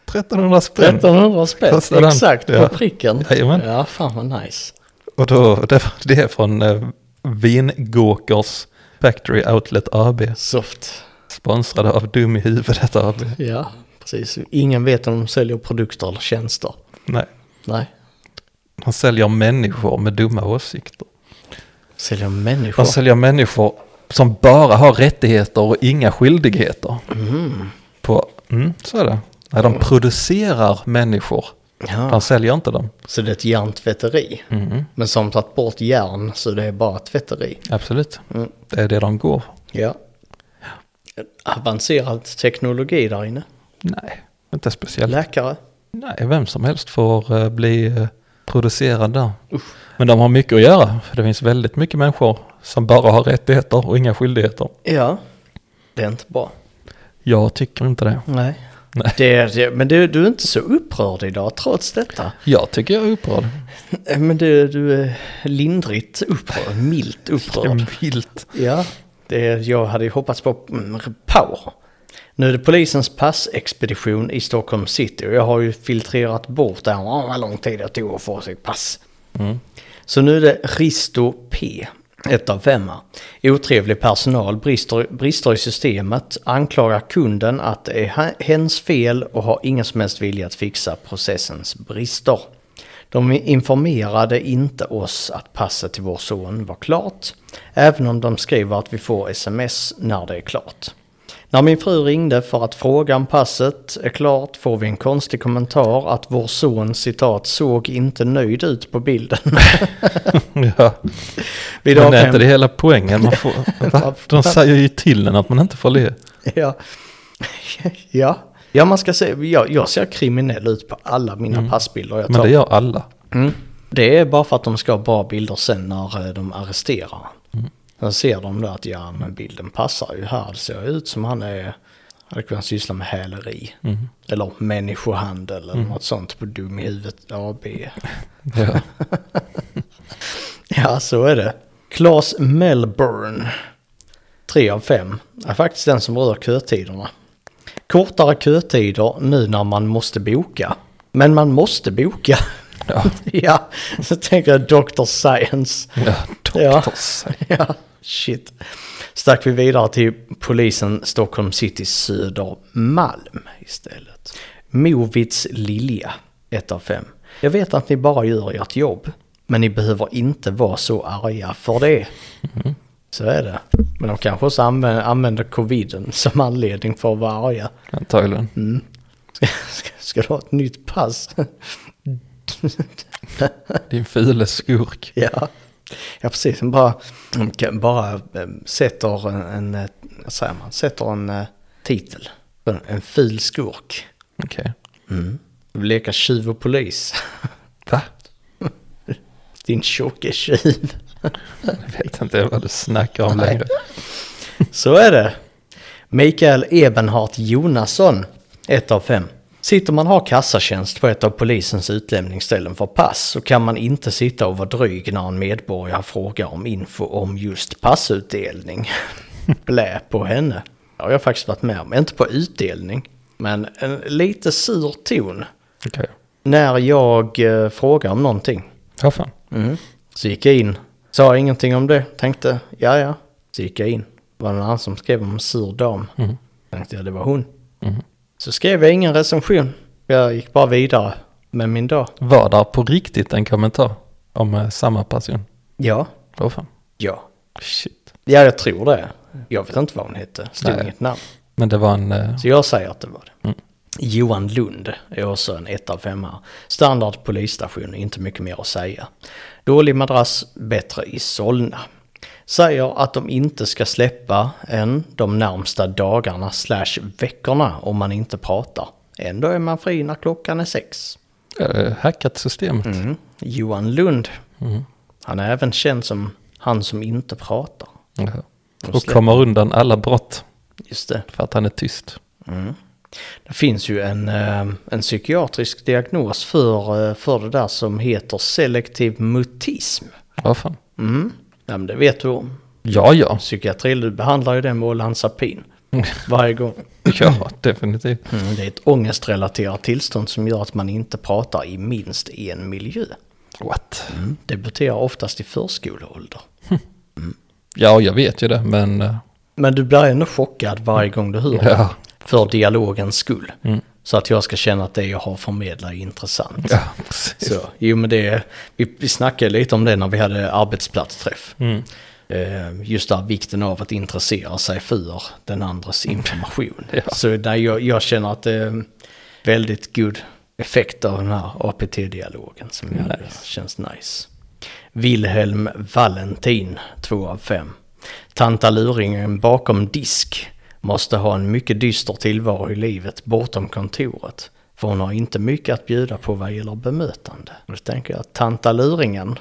Speaker 1: 1300 spänn.
Speaker 2: 1300 spänn,
Speaker 1: Mm. Kostar den?
Speaker 2: exakt
Speaker 1: Ja.
Speaker 2: på pricken.
Speaker 1: Jajamän.
Speaker 2: Ja, fan vad nice.
Speaker 1: Och då, det, var- det är från eh, Vingåkers Factory Outlet AB.
Speaker 2: Soft.
Speaker 1: Sponsrade av Dum i huvudet AB.
Speaker 2: Ja, precis. Ingen vet om de säljer produkter eller tjänster.
Speaker 1: Nej,
Speaker 2: Nej,
Speaker 1: de säljer människor med dumma åsikter.
Speaker 2: säljer
Speaker 1: De
Speaker 2: människor.
Speaker 1: säljer människor som bara har rättigheter och inga skyldigheter. På, mm, så är det. Nej, de producerar människor.
Speaker 2: Ja,
Speaker 1: De säljer inte dem.
Speaker 2: så det är ett järntvätteri. Men som tagit bort järn så det är bara ett tvätteri.
Speaker 1: Absolut. Mm. Det är det de går.
Speaker 2: Ja. Avancerad teknologi där inne.
Speaker 1: Nej, inte speciellt.
Speaker 2: Läkare.
Speaker 1: Nej, vem som helst får eh, bli eh, producerad där. Men de har mycket att göra, för det finns väldigt mycket människor som bara har rättigheter och inga skyldigheter.
Speaker 2: Ja. Det är inte bra.
Speaker 1: Jag tycker inte det.
Speaker 2: Nej.
Speaker 1: Nej.
Speaker 2: Det, det, men du, du är inte så upprörd idag trots detta.
Speaker 1: Jag tycker jag är upprörd.
Speaker 2: Eh, Men du, du är lindrigt upprörd, milt upprörd.
Speaker 1: Vilt.
Speaker 2: Ja, det, jag hade ju hoppats på mm, power. Nu är det polisens passexpedition i Stockholm city och jag har ju filtrerat bort där oh, vad lång tid det tog att få sitt pass. Så nu är det Risto P. Ett av femma. Otrevlig personal, brister, brister i systemet, anklagar kunden att det är he- hens fel och har ingen som helst vilja att fixa processens brister. De informerade inte oss att passet till vår son var klart, även om de skriver att vi får sms när det är klart. När min fru ringde för att fråga om passet är klart får vi en konstig kommentar att vår son citat såg inte nöjd ut på bilden.
Speaker 1: ja.
Speaker 2: Vid
Speaker 1: Men är
Speaker 2: avhem-
Speaker 1: inte det hela poängen? Man får, va? De säger ju till en att man inte får le.
Speaker 2: Ja. ja. Ja, man ska se, jag, jag ser kriminell ut på alla mina passbilder jag tar.
Speaker 1: Men det gör alla.
Speaker 2: Det är bara för att de ska ha bra bilder sen när eh, de arresterar. Sen ser de då att ja, men bilden passar ju här. Det ser ut som han är, hade kunnat syssla med häleri. Eller människohandel eller något sånt på Dum i huvudet AB.
Speaker 1: Ja.
Speaker 2: Ja, så är det. Claes Melbourne. tre av fem är faktiskt den som rör kötiderna. Kortare kötider nu när man måste boka. Men man måste boka.
Speaker 1: Ja.
Speaker 2: ja, så tänker jag Dr. Science.
Speaker 1: Ja,
Speaker 2: Ja.
Speaker 1: doktor.
Speaker 2: Ja, shit. Stack vi vidare till polisen Stockholm City Södermalm istället. Movits Lilja, ett av fem. Jag vet att ni bara gör ert jobb, men ni behöver inte vara så arga för det. Så är det. Men de kanske också använder, använder coviden som anledning för att vara arga.
Speaker 1: Antagligen.
Speaker 2: Ska, ska, ska du ha ett nytt pass?
Speaker 1: Din fule skurk.
Speaker 2: Ja, ja precis. Man bara, man kan bara eh, sätter en, en, eh, vad säger man, sätter en eh, titel. En, en ful skurk.
Speaker 1: Okej.
Speaker 2: Leka tjuv och polis.
Speaker 1: Va?
Speaker 2: Din tjocke tjuv.
Speaker 1: Jag vet inte vad du snackar om längre.
Speaker 2: Så är det. Mikael Ebenhart Jonasson, ett av fem. Sitter man har kassatjänst på ett av polisens utlämningsställen för pass så kan man inte sitta och vara dryg när en medborgare frågar om info om just passutdelning. Blä på henne. Det har jag faktiskt varit med om, inte på utdelning, men en lite sur ton
Speaker 1: Okej.
Speaker 2: när jag eh, frågar om någonting.
Speaker 1: Ja, fan.
Speaker 2: Mhm. Så gick jag in. Sa ingenting om det. Tänkte, ja ja. Så gick jag in. Det var någon annan som skrev om en sur dam. Tänkte jag, det var hon. Så skrev jag ingen recension. Jag gick bara vidare med min dag.
Speaker 1: Var där på riktigt en kommentar om eh, samma person?
Speaker 2: Ja.
Speaker 1: Åh fan.
Speaker 2: Ja.
Speaker 1: Shit.
Speaker 2: Ja, jag tror det. Jag vet inte vad hon hette. Stod
Speaker 1: Nej.
Speaker 2: inget namn.
Speaker 1: Men det var en... eh,
Speaker 2: Så jag säger att det var det. Johan Lund är också en etta femma. Standard polisstation, inte mycket mer att säga. Dålig madrass, bättre i Solna. Säger att de inte ska släppa en de närmsta dagarna slash veckorna om man inte pratar. Ändå är man fri när klockan är sex.
Speaker 1: eh, hackat systemet.
Speaker 2: Mm. Johan Lund. Han är även känd som han som inte pratar.
Speaker 1: Jaha.
Speaker 2: De
Speaker 1: Och
Speaker 2: släpper-
Speaker 1: kommer undan alla brott
Speaker 2: Just det.
Speaker 1: för att han är tyst.
Speaker 2: Mm. Det finns ju en, eh, en psykiatrisk diagnos för, eh, för det där som heter selektiv mutism.
Speaker 1: Vad fan?
Speaker 2: Mm. Ja, men det vet du om.
Speaker 1: Ja, ja.
Speaker 2: Psykiatri, du behandlar ju den med olanzapin varje gång.
Speaker 1: Ja, definitivt.
Speaker 2: Mm, det är ett ångestrelaterat tillstånd som gör att man inte pratar i minst en miljö.
Speaker 1: What?
Speaker 2: Mm. Debuterar oftast i förskoleålder.
Speaker 1: Ja, jag vet ju det, men... eh,
Speaker 2: Men du blir ändå chockad varje gång du hör det.
Speaker 1: Ja,
Speaker 2: För dialogens skull.
Speaker 1: Mm.
Speaker 2: Så att jag ska känna att det jag har förmedlat är intressant.
Speaker 1: ja precis.
Speaker 2: Så, jo men det, vi, vi snackade lite om det när vi hade arbetsplatsträff.
Speaker 1: Mm.
Speaker 2: Eh, Just där vikten av att intressera sig för den andres information.
Speaker 1: Mm. Ja.
Speaker 2: Så där jag, jag känner att det är en väldigt god effekt av den här APT-dialogen som vi hade.
Speaker 1: Nice.
Speaker 2: Känns nice. Wilhelm Valentin, 2 av 5. Tantaluringen bakom disk måste ha en mycket dyster tillvaro i livet bortom kontoret. För hon har inte mycket att bjuda på vad gäller bemötande. Då tänker jag att tantaluringen,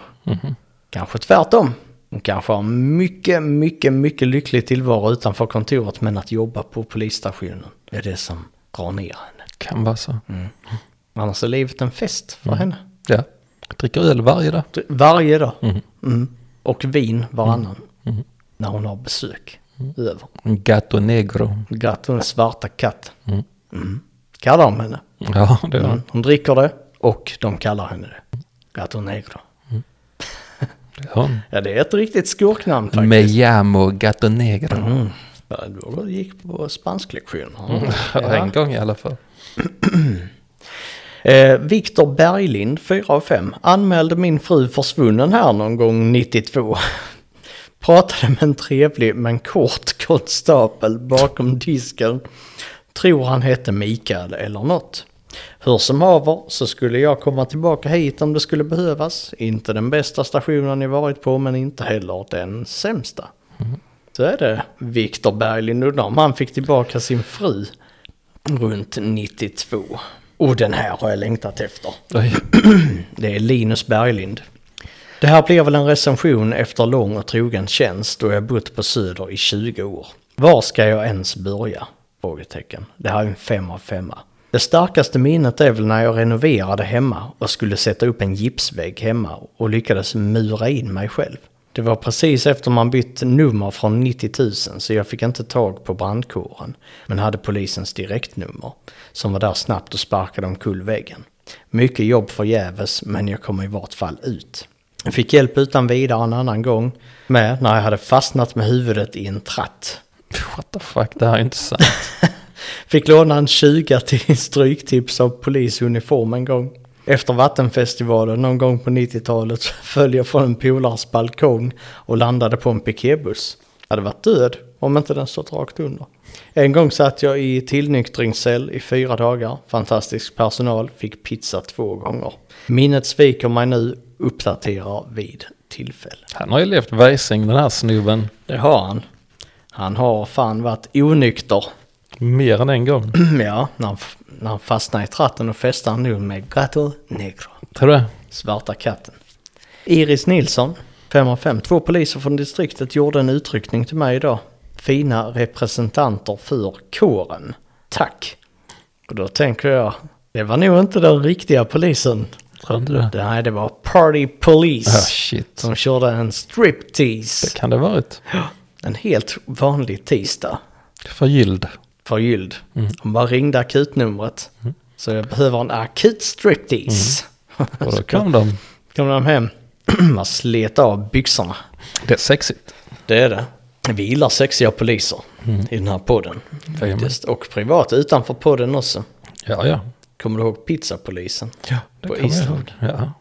Speaker 2: kanske tvärtom. Hon kanske har mycket, mycket, mycket lycklig tillvaro utanför kontoret men att jobba på polisstationen är det som drar ner henne.
Speaker 1: Kan vara så.
Speaker 2: Annars är livet en fest för henne.
Speaker 1: Ja. Jag dricker öl varje dag.
Speaker 2: Varje dag.
Speaker 1: Mhm.
Speaker 2: Mm. Och vin varannan. När hon har besök.
Speaker 1: Mhm.
Speaker 2: Över.
Speaker 1: En Gato negro.
Speaker 2: Gratt hon är svarta katt. Mm. Kallar de henne.
Speaker 1: Mhm. Ja, det är
Speaker 2: Mm. Hon dricker det och de kallar henne det. Gratt hon negro.
Speaker 1: det är hon.
Speaker 2: Ja det är ett riktigt skurknamn faktiskt. Mm.
Speaker 1: Me llamo Gato negro.
Speaker 2: Ja, Du gick på spansklektioner.
Speaker 1: Mm. Ja. En gång i alla fall.
Speaker 2: Eh, Viktor Berglind, 4 av 5, anmälde min fru försvunnen här någon gång 92. Pratade med en trevlig men kort konstapel bakom disken. Tror han hette Mikael eller något. Hur som haver så skulle jag komma tillbaka hit om det skulle behövas. Inte den bästa stationen jag varit på men inte heller den sämsta. Så är det. Viktor Berglind undrar om han fick tillbaka sin fru runt 92. Och den här har jag längtat efter.
Speaker 1: Oj.
Speaker 2: Det är Linus Berglind. Det här blir väl en recension efter lång och trogen tjänst då jag bott på Söder i 20 år. Var ska jag ens börja? Frågetecken. Det här är en fem av femma. Det starkaste minnet är väl när jag renoverade hemma och skulle sätta upp en gipsvägg hemma och lyckades mura in mig själv. Det var precis efter man bytt nummer från 90 000 så jag fick inte tag på brandkåren. Men hade polisens direktnummer som var där snabbt och sparkade omkull väggen. Mycket jobb förgäves men jag kom i vart fall ut. Jag fick hjälp utan vidare en annan gång med när jag hade fastnat med huvudet i en tratt.
Speaker 1: What the fuck, det här är inte sant.
Speaker 2: Fick låna en 20 till stryktips av polisuniform en gång. Efter Vattenfestivalen någon gång på 90-talet föll jag från en polares balkong och landade på en piketbuss. Hade varit död om inte den stått rakt under. En gång satt jag i tillnyktringscell i fyra dagar. Fantastisk personal, fick pizza två gånger. Minnet sviker mig nu, uppdaterar vid tillfälle.
Speaker 1: Han har ju levt väsing den här snubben.
Speaker 2: Det har han. Han har fan varit onykter.
Speaker 1: Mer än en gång.
Speaker 2: ja, när han, f- när han fastnade i tratten och festade han nog med Gato Negro.
Speaker 1: Tror du det?
Speaker 2: Svarta katten. Iris Nilsson, 5 av 5. Två poliser från distriktet gjorde en utryckning till mig idag. Fina representanter för kåren. Tack. Och då tänker jag, det var nog inte den riktiga polisen.
Speaker 1: Tror inte det?
Speaker 2: Nej, det var Party Police.
Speaker 1: Ah, shit.
Speaker 2: Som körde en striptease.
Speaker 1: Det kan det ha varit.
Speaker 2: En helt vanlig tisdag.
Speaker 1: Förgylld.
Speaker 2: förgylld.
Speaker 1: Mm.
Speaker 2: Hon bara ringde akutnumret. Så jag behöver en akut striptease.
Speaker 1: Mm. Och då kom de.
Speaker 2: Kom de hem, man slet av byxorna.
Speaker 1: Det Mm. är sexigt.
Speaker 2: Det är det. Vi gillar sexiga poliser i den här podden.
Speaker 1: Jajamän.
Speaker 2: Faktiskt. Och privat utanför podden också.
Speaker 1: Ja, ja.
Speaker 2: Kommer du ihåg pizzapolisen?
Speaker 1: Ja, det
Speaker 2: På
Speaker 1: kommer jag
Speaker 2: Island.
Speaker 1: ihåg. Ja.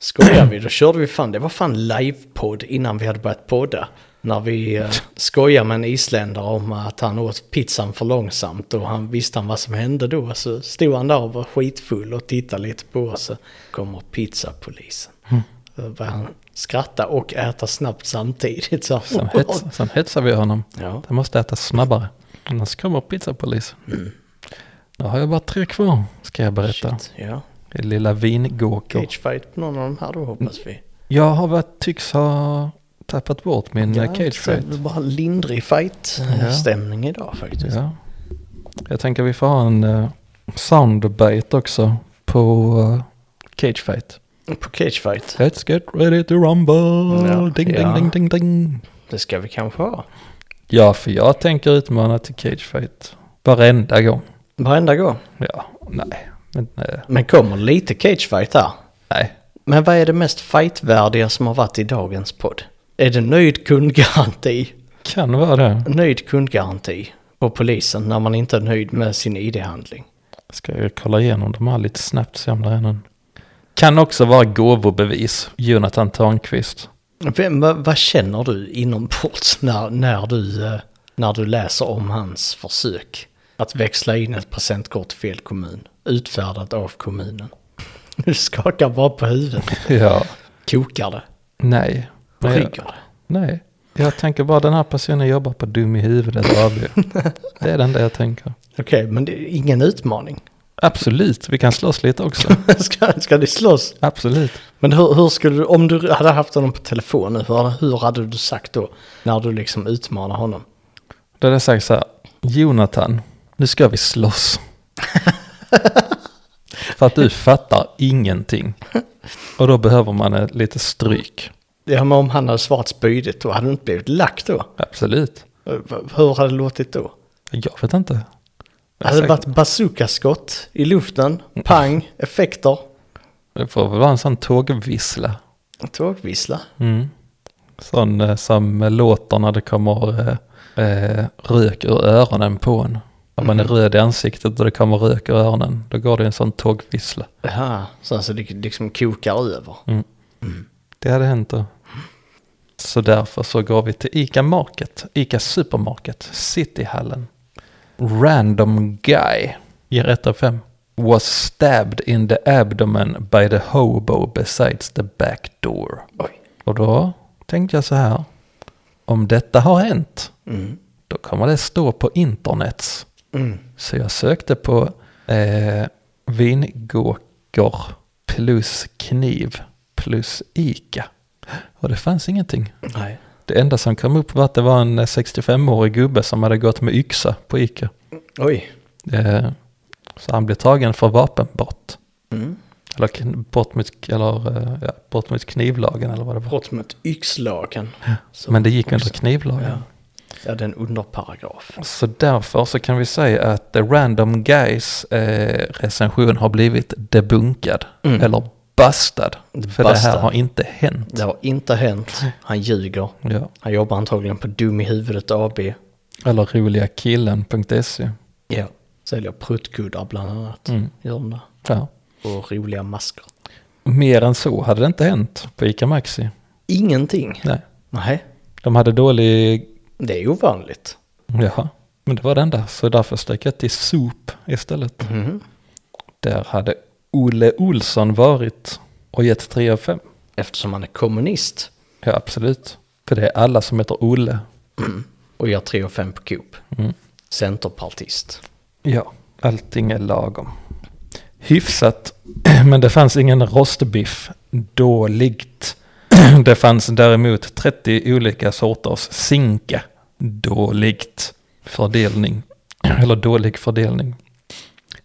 Speaker 2: Skojar vi, då körde vi fan, det var fan livepodd innan vi hade börjat podda. När vi eh, skojade med en isländare om att han åt pizzan för långsamt och han visste han vad som hände då. Så stod han där och var skitfull och tittade lite på oss. Så kommer pizzapolisen.
Speaker 1: Mm.
Speaker 2: Då började han skratta och äta snabbt samtidigt. Så.
Speaker 1: Sen, hets, sen hetsar vi honom.
Speaker 2: Ja.
Speaker 1: Det måste äta snabbare. Annars kommer pizzapolisen. Nu har jag bara tre kvar, ska jag berätta.
Speaker 2: Shit, ja.
Speaker 1: Det Lilla vingåkor.
Speaker 2: Cagefight på någon av de här då hoppas vi.
Speaker 1: Jag har varit, tycks ha tappat bort min eh, cage
Speaker 2: det är
Speaker 1: fight.
Speaker 2: väl bara lindrig fight-stämning idag faktiskt.
Speaker 1: Ja. Jag tänker vi får ha en uh, soundbite också på eh, cage fight.
Speaker 2: På cage fight.
Speaker 1: Let's get ready to rumble.
Speaker 2: Ja.
Speaker 1: Ding, ding,
Speaker 2: Ja.
Speaker 1: ding, ding, ding.
Speaker 2: Det ska vi kanske ha.
Speaker 1: Ja, för jag tänker utmana till cage fight varenda gång.
Speaker 2: Varenda gång.
Speaker 1: Ja, nej. Men, nej.
Speaker 2: Men kommer lite cage fight här.
Speaker 1: nej.
Speaker 2: Men vad är det mest fightvärdiga som har varit i dagens podd? Är det nöjd kundgaranti?
Speaker 1: Kan vara det.
Speaker 2: Nöjd kundgaranti på polisen när man inte är nöjd med sin ID-handling.
Speaker 1: Ska jag kolla igenom de här lite snabbt se om det är någon. Kan också vara gåvobevis. Jonathan Törnqvist.
Speaker 2: Vem, vad, vad känner du inombords när, när, du, eh, när du läser om hans försök att växla in ett presentkort till fel kommun, utfärdat av kommunen? Du skakar bara på huvudet.
Speaker 1: Ja.
Speaker 2: Kokar det?
Speaker 1: Nej. Nej.
Speaker 2: Ryker det?
Speaker 1: Nej. Jag tänker bara den här personen jobbar på dum i huvudet AB. Det är den där jag tänker.
Speaker 2: Okej, men det är ingen utmaning.
Speaker 1: Absolut, vi kan slåss lite också.
Speaker 2: Ska, ska ni slåss?
Speaker 1: Absolut.
Speaker 2: Men hur, hur skulle du, om du hade haft honom på telefon nu, hur, hur hade du sagt då? När du liksom utmanar honom?
Speaker 1: Då hade jag sagt så här, Jonathan, nu ska vi slåss. För att du fattar ingenting. Och då behöver man eh, lite stryk.
Speaker 2: Ja, men om han hade svarat spydigt då, hade du inte blivit lack då?
Speaker 1: Absolut.
Speaker 2: Eh, Hur hade det låtit då?
Speaker 1: Jag vet inte.
Speaker 2: Hade det
Speaker 1: Säkert.
Speaker 2: varit bazookaskott i luften? Pang, effekter,
Speaker 1: Det får väl vara en sån tågvissla.
Speaker 2: tågvissla.
Speaker 1: Mm. Sån eh, som låter när det kommer eh, eh, rök ur öronen på en. Om man är
Speaker 2: Mm.
Speaker 1: röd i ansiktet och det kommer rök ur öronen, då går det en sån tågvissla.
Speaker 2: Jaha, så alltså det liksom kokar över.
Speaker 1: Det hade hänt då. Så därför så går vi till ICA Market, ICA Supermarket, Cityhallen. Random guy, ger 1 av 5. Was stabbed in the abdomen by the hobo besides the back door.
Speaker 2: Oj.
Speaker 1: Och då tänkte jag så här. Om detta har hänt, då kommer det stå på internets.
Speaker 2: Mm.
Speaker 1: Så jag sökte på eh, vingåkor plus kniv plus Ica. Och det fanns ingenting.
Speaker 2: Nej.
Speaker 1: Det enda som kom upp var att det var en eh, 65-årig gubbe som hade gått med yxa på Ica.
Speaker 2: Oj.
Speaker 1: Eh, så han blev tagen för vapenbrott.
Speaker 2: Mm.
Speaker 1: Eller kn- brott mot, eller, eh, ja, brott mot knivlagen eller vad det var.
Speaker 2: Brott mot yxlagen. Så-
Speaker 1: Men det gick under knivlagen.
Speaker 2: Ja, det är en underparagraf.
Speaker 1: Så därför så kan vi säga att The Random Guys eh, recension har blivit debunkad. Eller bastad. För det här
Speaker 2: Bastad.
Speaker 1: har inte hänt.
Speaker 2: Det har inte hänt. Han ljuger.
Speaker 1: Ja.
Speaker 2: Han jobbar antagligen på Dum i huvudet AB.
Speaker 1: Eller roligakillen.se.
Speaker 2: Ja. Säljer pruttkuddar bland annat. Gör de det.
Speaker 1: Ja.
Speaker 2: Och roliga masker.
Speaker 1: Mer än så hade det inte hänt på ICA Maxi.
Speaker 2: Ingenting.
Speaker 1: Nej.
Speaker 2: Nej,
Speaker 1: De hade dålig...
Speaker 2: det är ovanligt.
Speaker 1: Ja. Men det var det enda. Så därför stök jag till sop istället. Där hade Olle Olsson varit och gett 3 av 5.
Speaker 2: Eftersom han är kommunist
Speaker 1: Ja, absolut. För det är alla som heter Olle.
Speaker 2: och gör 3 och 5 på Coop. Centerpartist.
Speaker 1: Ja, allting är lagom. Hyfsat, men det fanns ingen rostbiff. Dåligt. Det fanns däremot 30 olika sorters sinka. Dåligt fördelning. Eller dålig fördelning.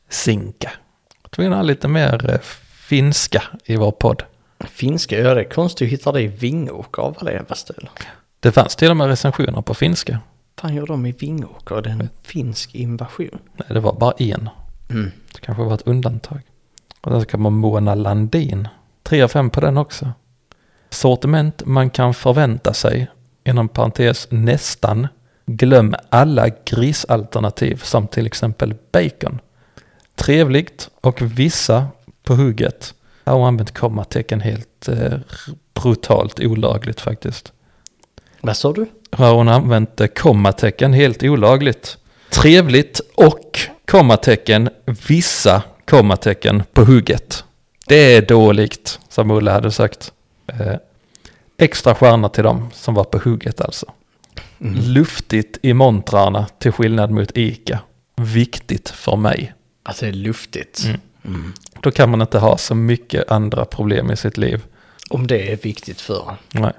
Speaker 1: Sinka. Jag tror vi har lite mer eh, finska i vår podd.
Speaker 2: Finska, ja det är konstigt att hitta det i Vingåker av alla jävla ställen.
Speaker 1: Det fanns till och med recensioner på finska.
Speaker 2: fan gör de i Vingåker? Det är en finsk invasion.
Speaker 1: Nej, det var bara en. Det kanske var ett undantag. Och sen ska man Mona Landin. 3 av 5 på den också. Sortiment man kan förvänta sig, inom parentes nästan. Glöm alla grisalternativ som till exempel bacon. Trevligt och vissa på hugget. Här har hon använt kommatecken helt eh, brutalt olagligt faktiskt.
Speaker 2: Vad sa du?
Speaker 1: Här har hon använt eh, kommatecken helt olagligt. Trevligt och kommatecken, vissa kommatecken på hugget. Det är dåligt, som Ulla hade sagt. Eh, extra stjärna till dem som var på hugget alltså. Luftigt i montrarna till skillnad mot Ica. Viktigt för mig.
Speaker 2: Att det är luftigt.
Speaker 1: Då kan man inte ha så mycket andra problem i sitt liv.
Speaker 2: Om det är viktigt för en.
Speaker 1: Nej.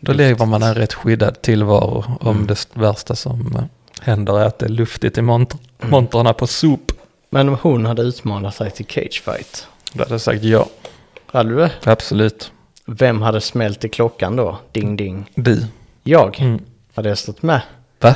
Speaker 1: Då lever man en rätt skyddad tillvaro
Speaker 2: Mm.
Speaker 1: om det värsta som eh, händer är att det är luftigt i mont-
Speaker 2: Mm.
Speaker 1: montrarna på sop.
Speaker 2: Men om hon hade utmanat sig till cagefight,
Speaker 1: Då hade jag sagt ja,
Speaker 2: hade du det?
Speaker 1: absolut.
Speaker 2: Vem hade smält i klockan då? Ding ding.
Speaker 1: Du.
Speaker 2: Jag?
Speaker 1: Mm.
Speaker 2: Hade jag stått med?
Speaker 1: Va?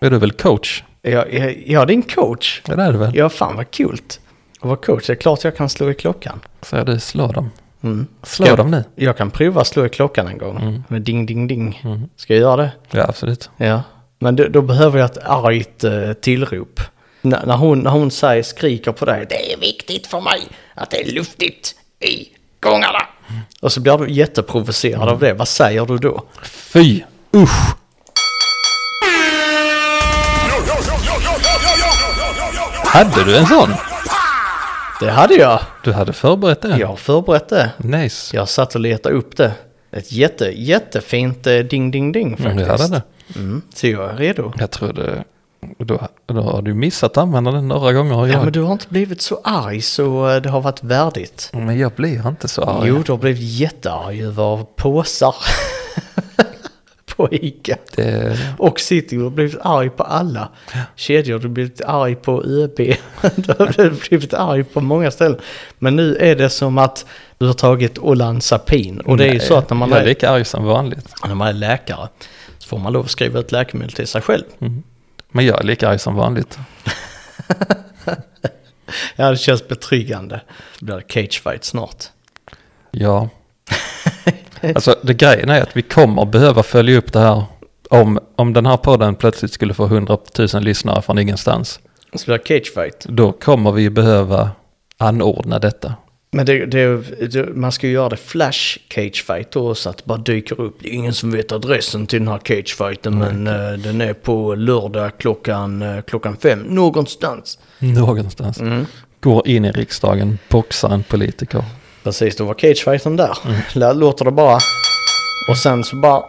Speaker 1: Är du väl coach?
Speaker 2: Jag, jag, jag är en coach.
Speaker 1: Ja, det är du väl?
Speaker 2: Ja, fan vad coolt. Och vad coach, det är klart jag kan slå i klockan.
Speaker 1: Säger du, slå dem.
Speaker 2: Mm.
Speaker 1: Slå
Speaker 2: Ja.
Speaker 1: dem nu. Mm.
Speaker 2: Jag kan prova att slå i klockan en gång. Med ding ding ding. Ska jag göra det?
Speaker 1: Ja, absolut.
Speaker 2: Ja, men då, då behöver jag ett argt eh, tillrop. N- när, hon, när hon säger, skriker på dig, det är viktigt för mig att det är luftigt i gångarna.
Speaker 1: Mm.
Speaker 2: Och så blir du jätteprovocerad av det, vad säger du då?
Speaker 1: Fy! Usch! Hade du en sån?
Speaker 2: Det hade jag!
Speaker 1: Du hade förberett den?
Speaker 2: Jag har förberett det.
Speaker 1: Nice.
Speaker 2: Jag satt och letade upp det. Ett jätte, jättefint eh, ding ding ding faktiskt.
Speaker 1: Mm, du hade det.
Speaker 2: Mm, så jag är redo.
Speaker 1: Jag trodde... Då, då har du missat att använda den några gånger. och Jag,
Speaker 2: Ja, men du har inte blivit så arg så eh, det har varit värdigt.
Speaker 1: men jag blir inte så arg.
Speaker 2: Jo, du har blivit jättearg över påsar på Ica.
Speaker 1: Det,
Speaker 2: Och City, du har blivit arg på alla kedjor. Du har blivit arg på ÖB. Du har blivit arg på många ställen. Men nu är det som att du har tagit Olanzapin. Och det är ju så att när man
Speaker 1: jag är
Speaker 2: är,
Speaker 1: lika arg som vanligt.
Speaker 2: när man är läkare så får man lov att skriva ut läkemedel till sig själv.
Speaker 1: Men jag är lika arg som vanligt.
Speaker 2: Ja, det känns betryggande. Det blir cagefight snart.
Speaker 1: Ja. alltså det grejen är att vi kommer behöva följa upp det här. Om, om den här podden plötsligt skulle få 100 000 lyssnare från ingenstans.
Speaker 2: Så blir det cagefight.
Speaker 1: Då kommer vi behöva anordna detta.
Speaker 2: Men det, det, det, man ska ju göra det flash cagefight då så att det bara dyker upp. Det är ingen som vet adressen till den här cagefighten men eh, den är på lördag klockan, eh, klockan fem någonstans.
Speaker 1: Någonstans.
Speaker 2: Mm.
Speaker 1: Går in i riksdagen, boxar en politiker.
Speaker 2: Precis, då var cagefighten där. Där låter det bara. Och sen så bara...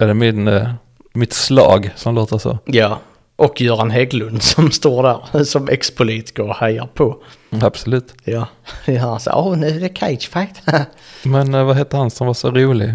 Speaker 1: Är det min, eh, mitt slag som låter så?
Speaker 2: Ja. Och Göran Hägglund som står där som ex-politiker och hejar på.
Speaker 1: Absolut.
Speaker 2: Ja. Ja, så, åh nu är det cagefight.
Speaker 1: Men eh, vad hette han som var så rolig?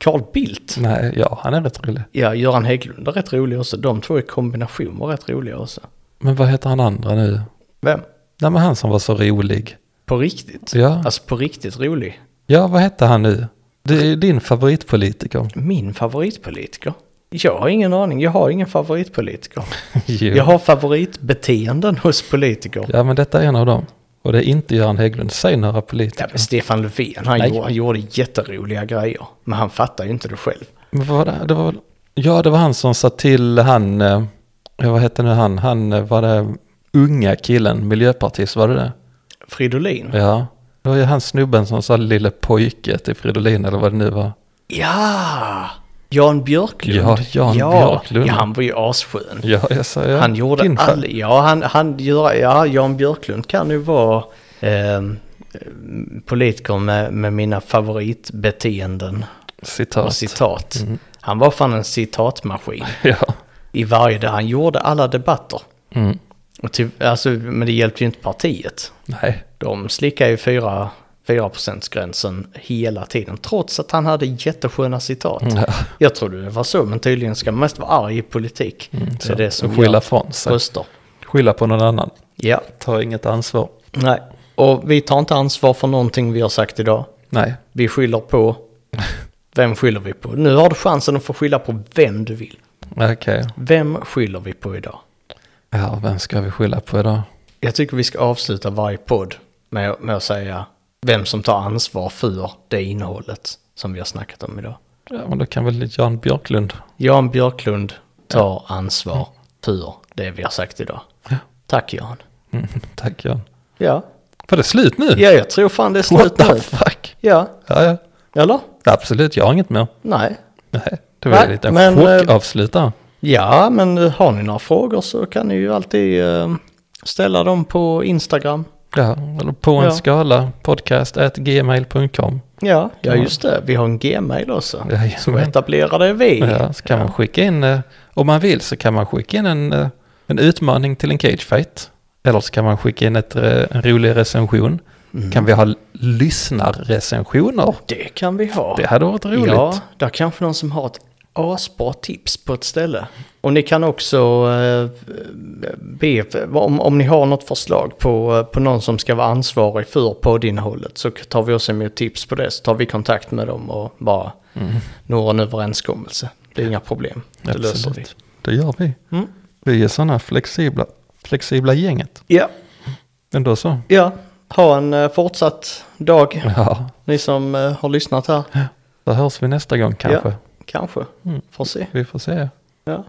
Speaker 2: Carl Bildt.
Speaker 1: Nej, ja, han är rätt rolig.
Speaker 2: Ja, Göran Hägglund är rätt rolig också. De två i kombination var rätt roliga också.
Speaker 1: Men vad heter han andra nu?
Speaker 2: Vem?
Speaker 1: Nej, men han som var så rolig.
Speaker 2: På riktigt?
Speaker 1: Ja.
Speaker 2: Alltså på riktigt rolig.
Speaker 1: Ja, vad hette han nu? Det är din favoritpolitiker.
Speaker 2: Min favoritpolitiker? Jag har ingen aning, jag har ingen favoritpolitiker.
Speaker 1: Jo.
Speaker 2: Jag har favoritbeteenden hos politiker. Ja.
Speaker 1: Ja, men detta är en av dem. Och det är inte Göran Hägglund. Säg några politiker.
Speaker 2: men Stefan Löfven, han
Speaker 1: Nej.
Speaker 2: gjorde, han gjorde jätteroliga grejer. Men han fattar ju inte det själv.
Speaker 1: Men vad var det? det var, ja, det var han som sa till han, eh, vad hette nu han, han eh, var det unga killen, miljöpartist, var det det?
Speaker 2: Fridolin? Ja,
Speaker 1: Ja. Det var ju han snubben som sa lille pojke till Fridolin eller vad det nu var.
Speaker 2: Jan Björklund?
Speaker 1: Ja, Jan
Speaker 2: ja.
Speaker 1: Björklund.
Speaker 2: Ja, han var ju asskön.
Speaker 1: Ja, jag sa ja.
Speaker 2: Han gjorde
Speaker 1: Din fa-
Speaker 2: all, ja, han, han gör, ja, Jan Björklund kan ju vara eh, politiker med, med mina favoritbeteenden.
Speaker 1: Citat.
Speaker 2: och citat.
Speaker 1: Mm.
Speaker 2: Han var fan en citatmaskin
Speaker 1: Ja.
Speaker 2: i varje där han gjorde alla debatter.
Speaker 1: Mm.
Speaker 2: Och till, alltså, men det hjälpte ju inte partiet.
Speaker 1: Nej.
Speaker 2: De slickade ju 4, 4%-gränsen hela tiden, trots att han hade jättesköna citat.
Speaker 1: Mm.
Speaker 2: Jag trodde det var så, men tydligen ska man mest vara arg i politik. så det är det som
Speaker 1: Och Mm, skylla
Speaker 2: gör
Speaker 1: från sig.
Speaker 2: röster.
Speaker 1: Skylla på någon annan.
Speaker 2: Ja,
Speaker 1: Ta inget ansvar.
Speaker 2: nej. Och vi tar inte ansvar för någonting vi har sagt idag.
Speaker 1: Nej.
Speaker 2: Vi skyller på... Vem skyller vi på? Nu har du chansen att få skylla på vem du vill.
Speaker 1: Okej.
Speaker 2: Vem skyller vi på idag?
Speaker 1: Ja, vem ska vi skylla på idag?
Speaker 2: Jag tycker vi ska avsluta varje podd med, med att säga vem som tar ansvar för det innehållet som vi har snackat om idag.
Speaker 1: Ja, men då kan väl Jan Björklund.
Speaker 2: Jan Björklund tar ansvar för det vi har sagt idag.
Speaker 1: Ja.
Speaker 2: Tack Jan.
Speaker 1: Mm, tack Jan.
Speaker 2: Ja.
Speaker 1: Var det slut nu?
Speaker 2: ja, jag tror fan det är
Speaker 1: What
Speaker 2: slut
Speaker 1: the
Speaker 2: nu.
Speaker 1: fuck?
Speaker 2: Ja,
Speaker 1: Ja, ja.
Speaker 2: eller?
Speaker 1: Absolut, jag har inget mer.
Speaker 2: Nej.
Speaker 1: Nej, det var
Speaker 2: Va?
Speaker 1: lite
Speaker 2: Men,
Speaker 1: en chockavslutare.
Speaker 2: Ja, men eh, har ni några frågor så kan ni ju alltid eh, ställa dem på Instagram.
Speaker 1: Ja, eller på en
Speaker 2: ja.
Speaker 1: skala, podcast at gmail.com.
Speaker 2: Ja, ja just det. Vi har en gmail också.
Speaker 1: Jajamän.
Speaker 2: Så etablerade vi.
Speaker 1: Ja, så kan man skicka in, eh, om man vill så kan man skicka in en, eh, en utmaning till en cagefight. Eller så kan man skicka in ett, eh, en rolig recension. Kan vi ha lyssnarrecensioner?
Speaker 2: Det kan vi ha.
Speaker 1: Det hade varit roligt.
Speaker 2: Ja, där kanske någon som har ett asbra tips på ett ställe. Och ni kan också eh, be, om, om ni har något förslag på, eh, på någon som ska vara ansvarig för poddinnehållet så tar vi oss emot tips på det. Så tar vi kontakt med dem och bara
Speaker 1: Mm.
Speaker 2: når en överenskommelse. Det är inga problem. Det löser vi.
Speaker 1: Absolut. Det gör vi.
Speaker 2: Mm.
Speaker 1: Vi är sådana flexibla, flexibla gänget.
Speaker 2: Ja,
Speaker 1: Ändå så.
Speaker 2: ja. ha en eh, fortsatt dag.
Speaker 1: Ja,
Speaker 2: Ni som eh, har lyssnat här.
Speaker 1: då hörs vi nästa gång kanske.
Speaker 2: Ja, kanske. Får se.
Speaker 1: Vi får se.
Speaker 2: Ja.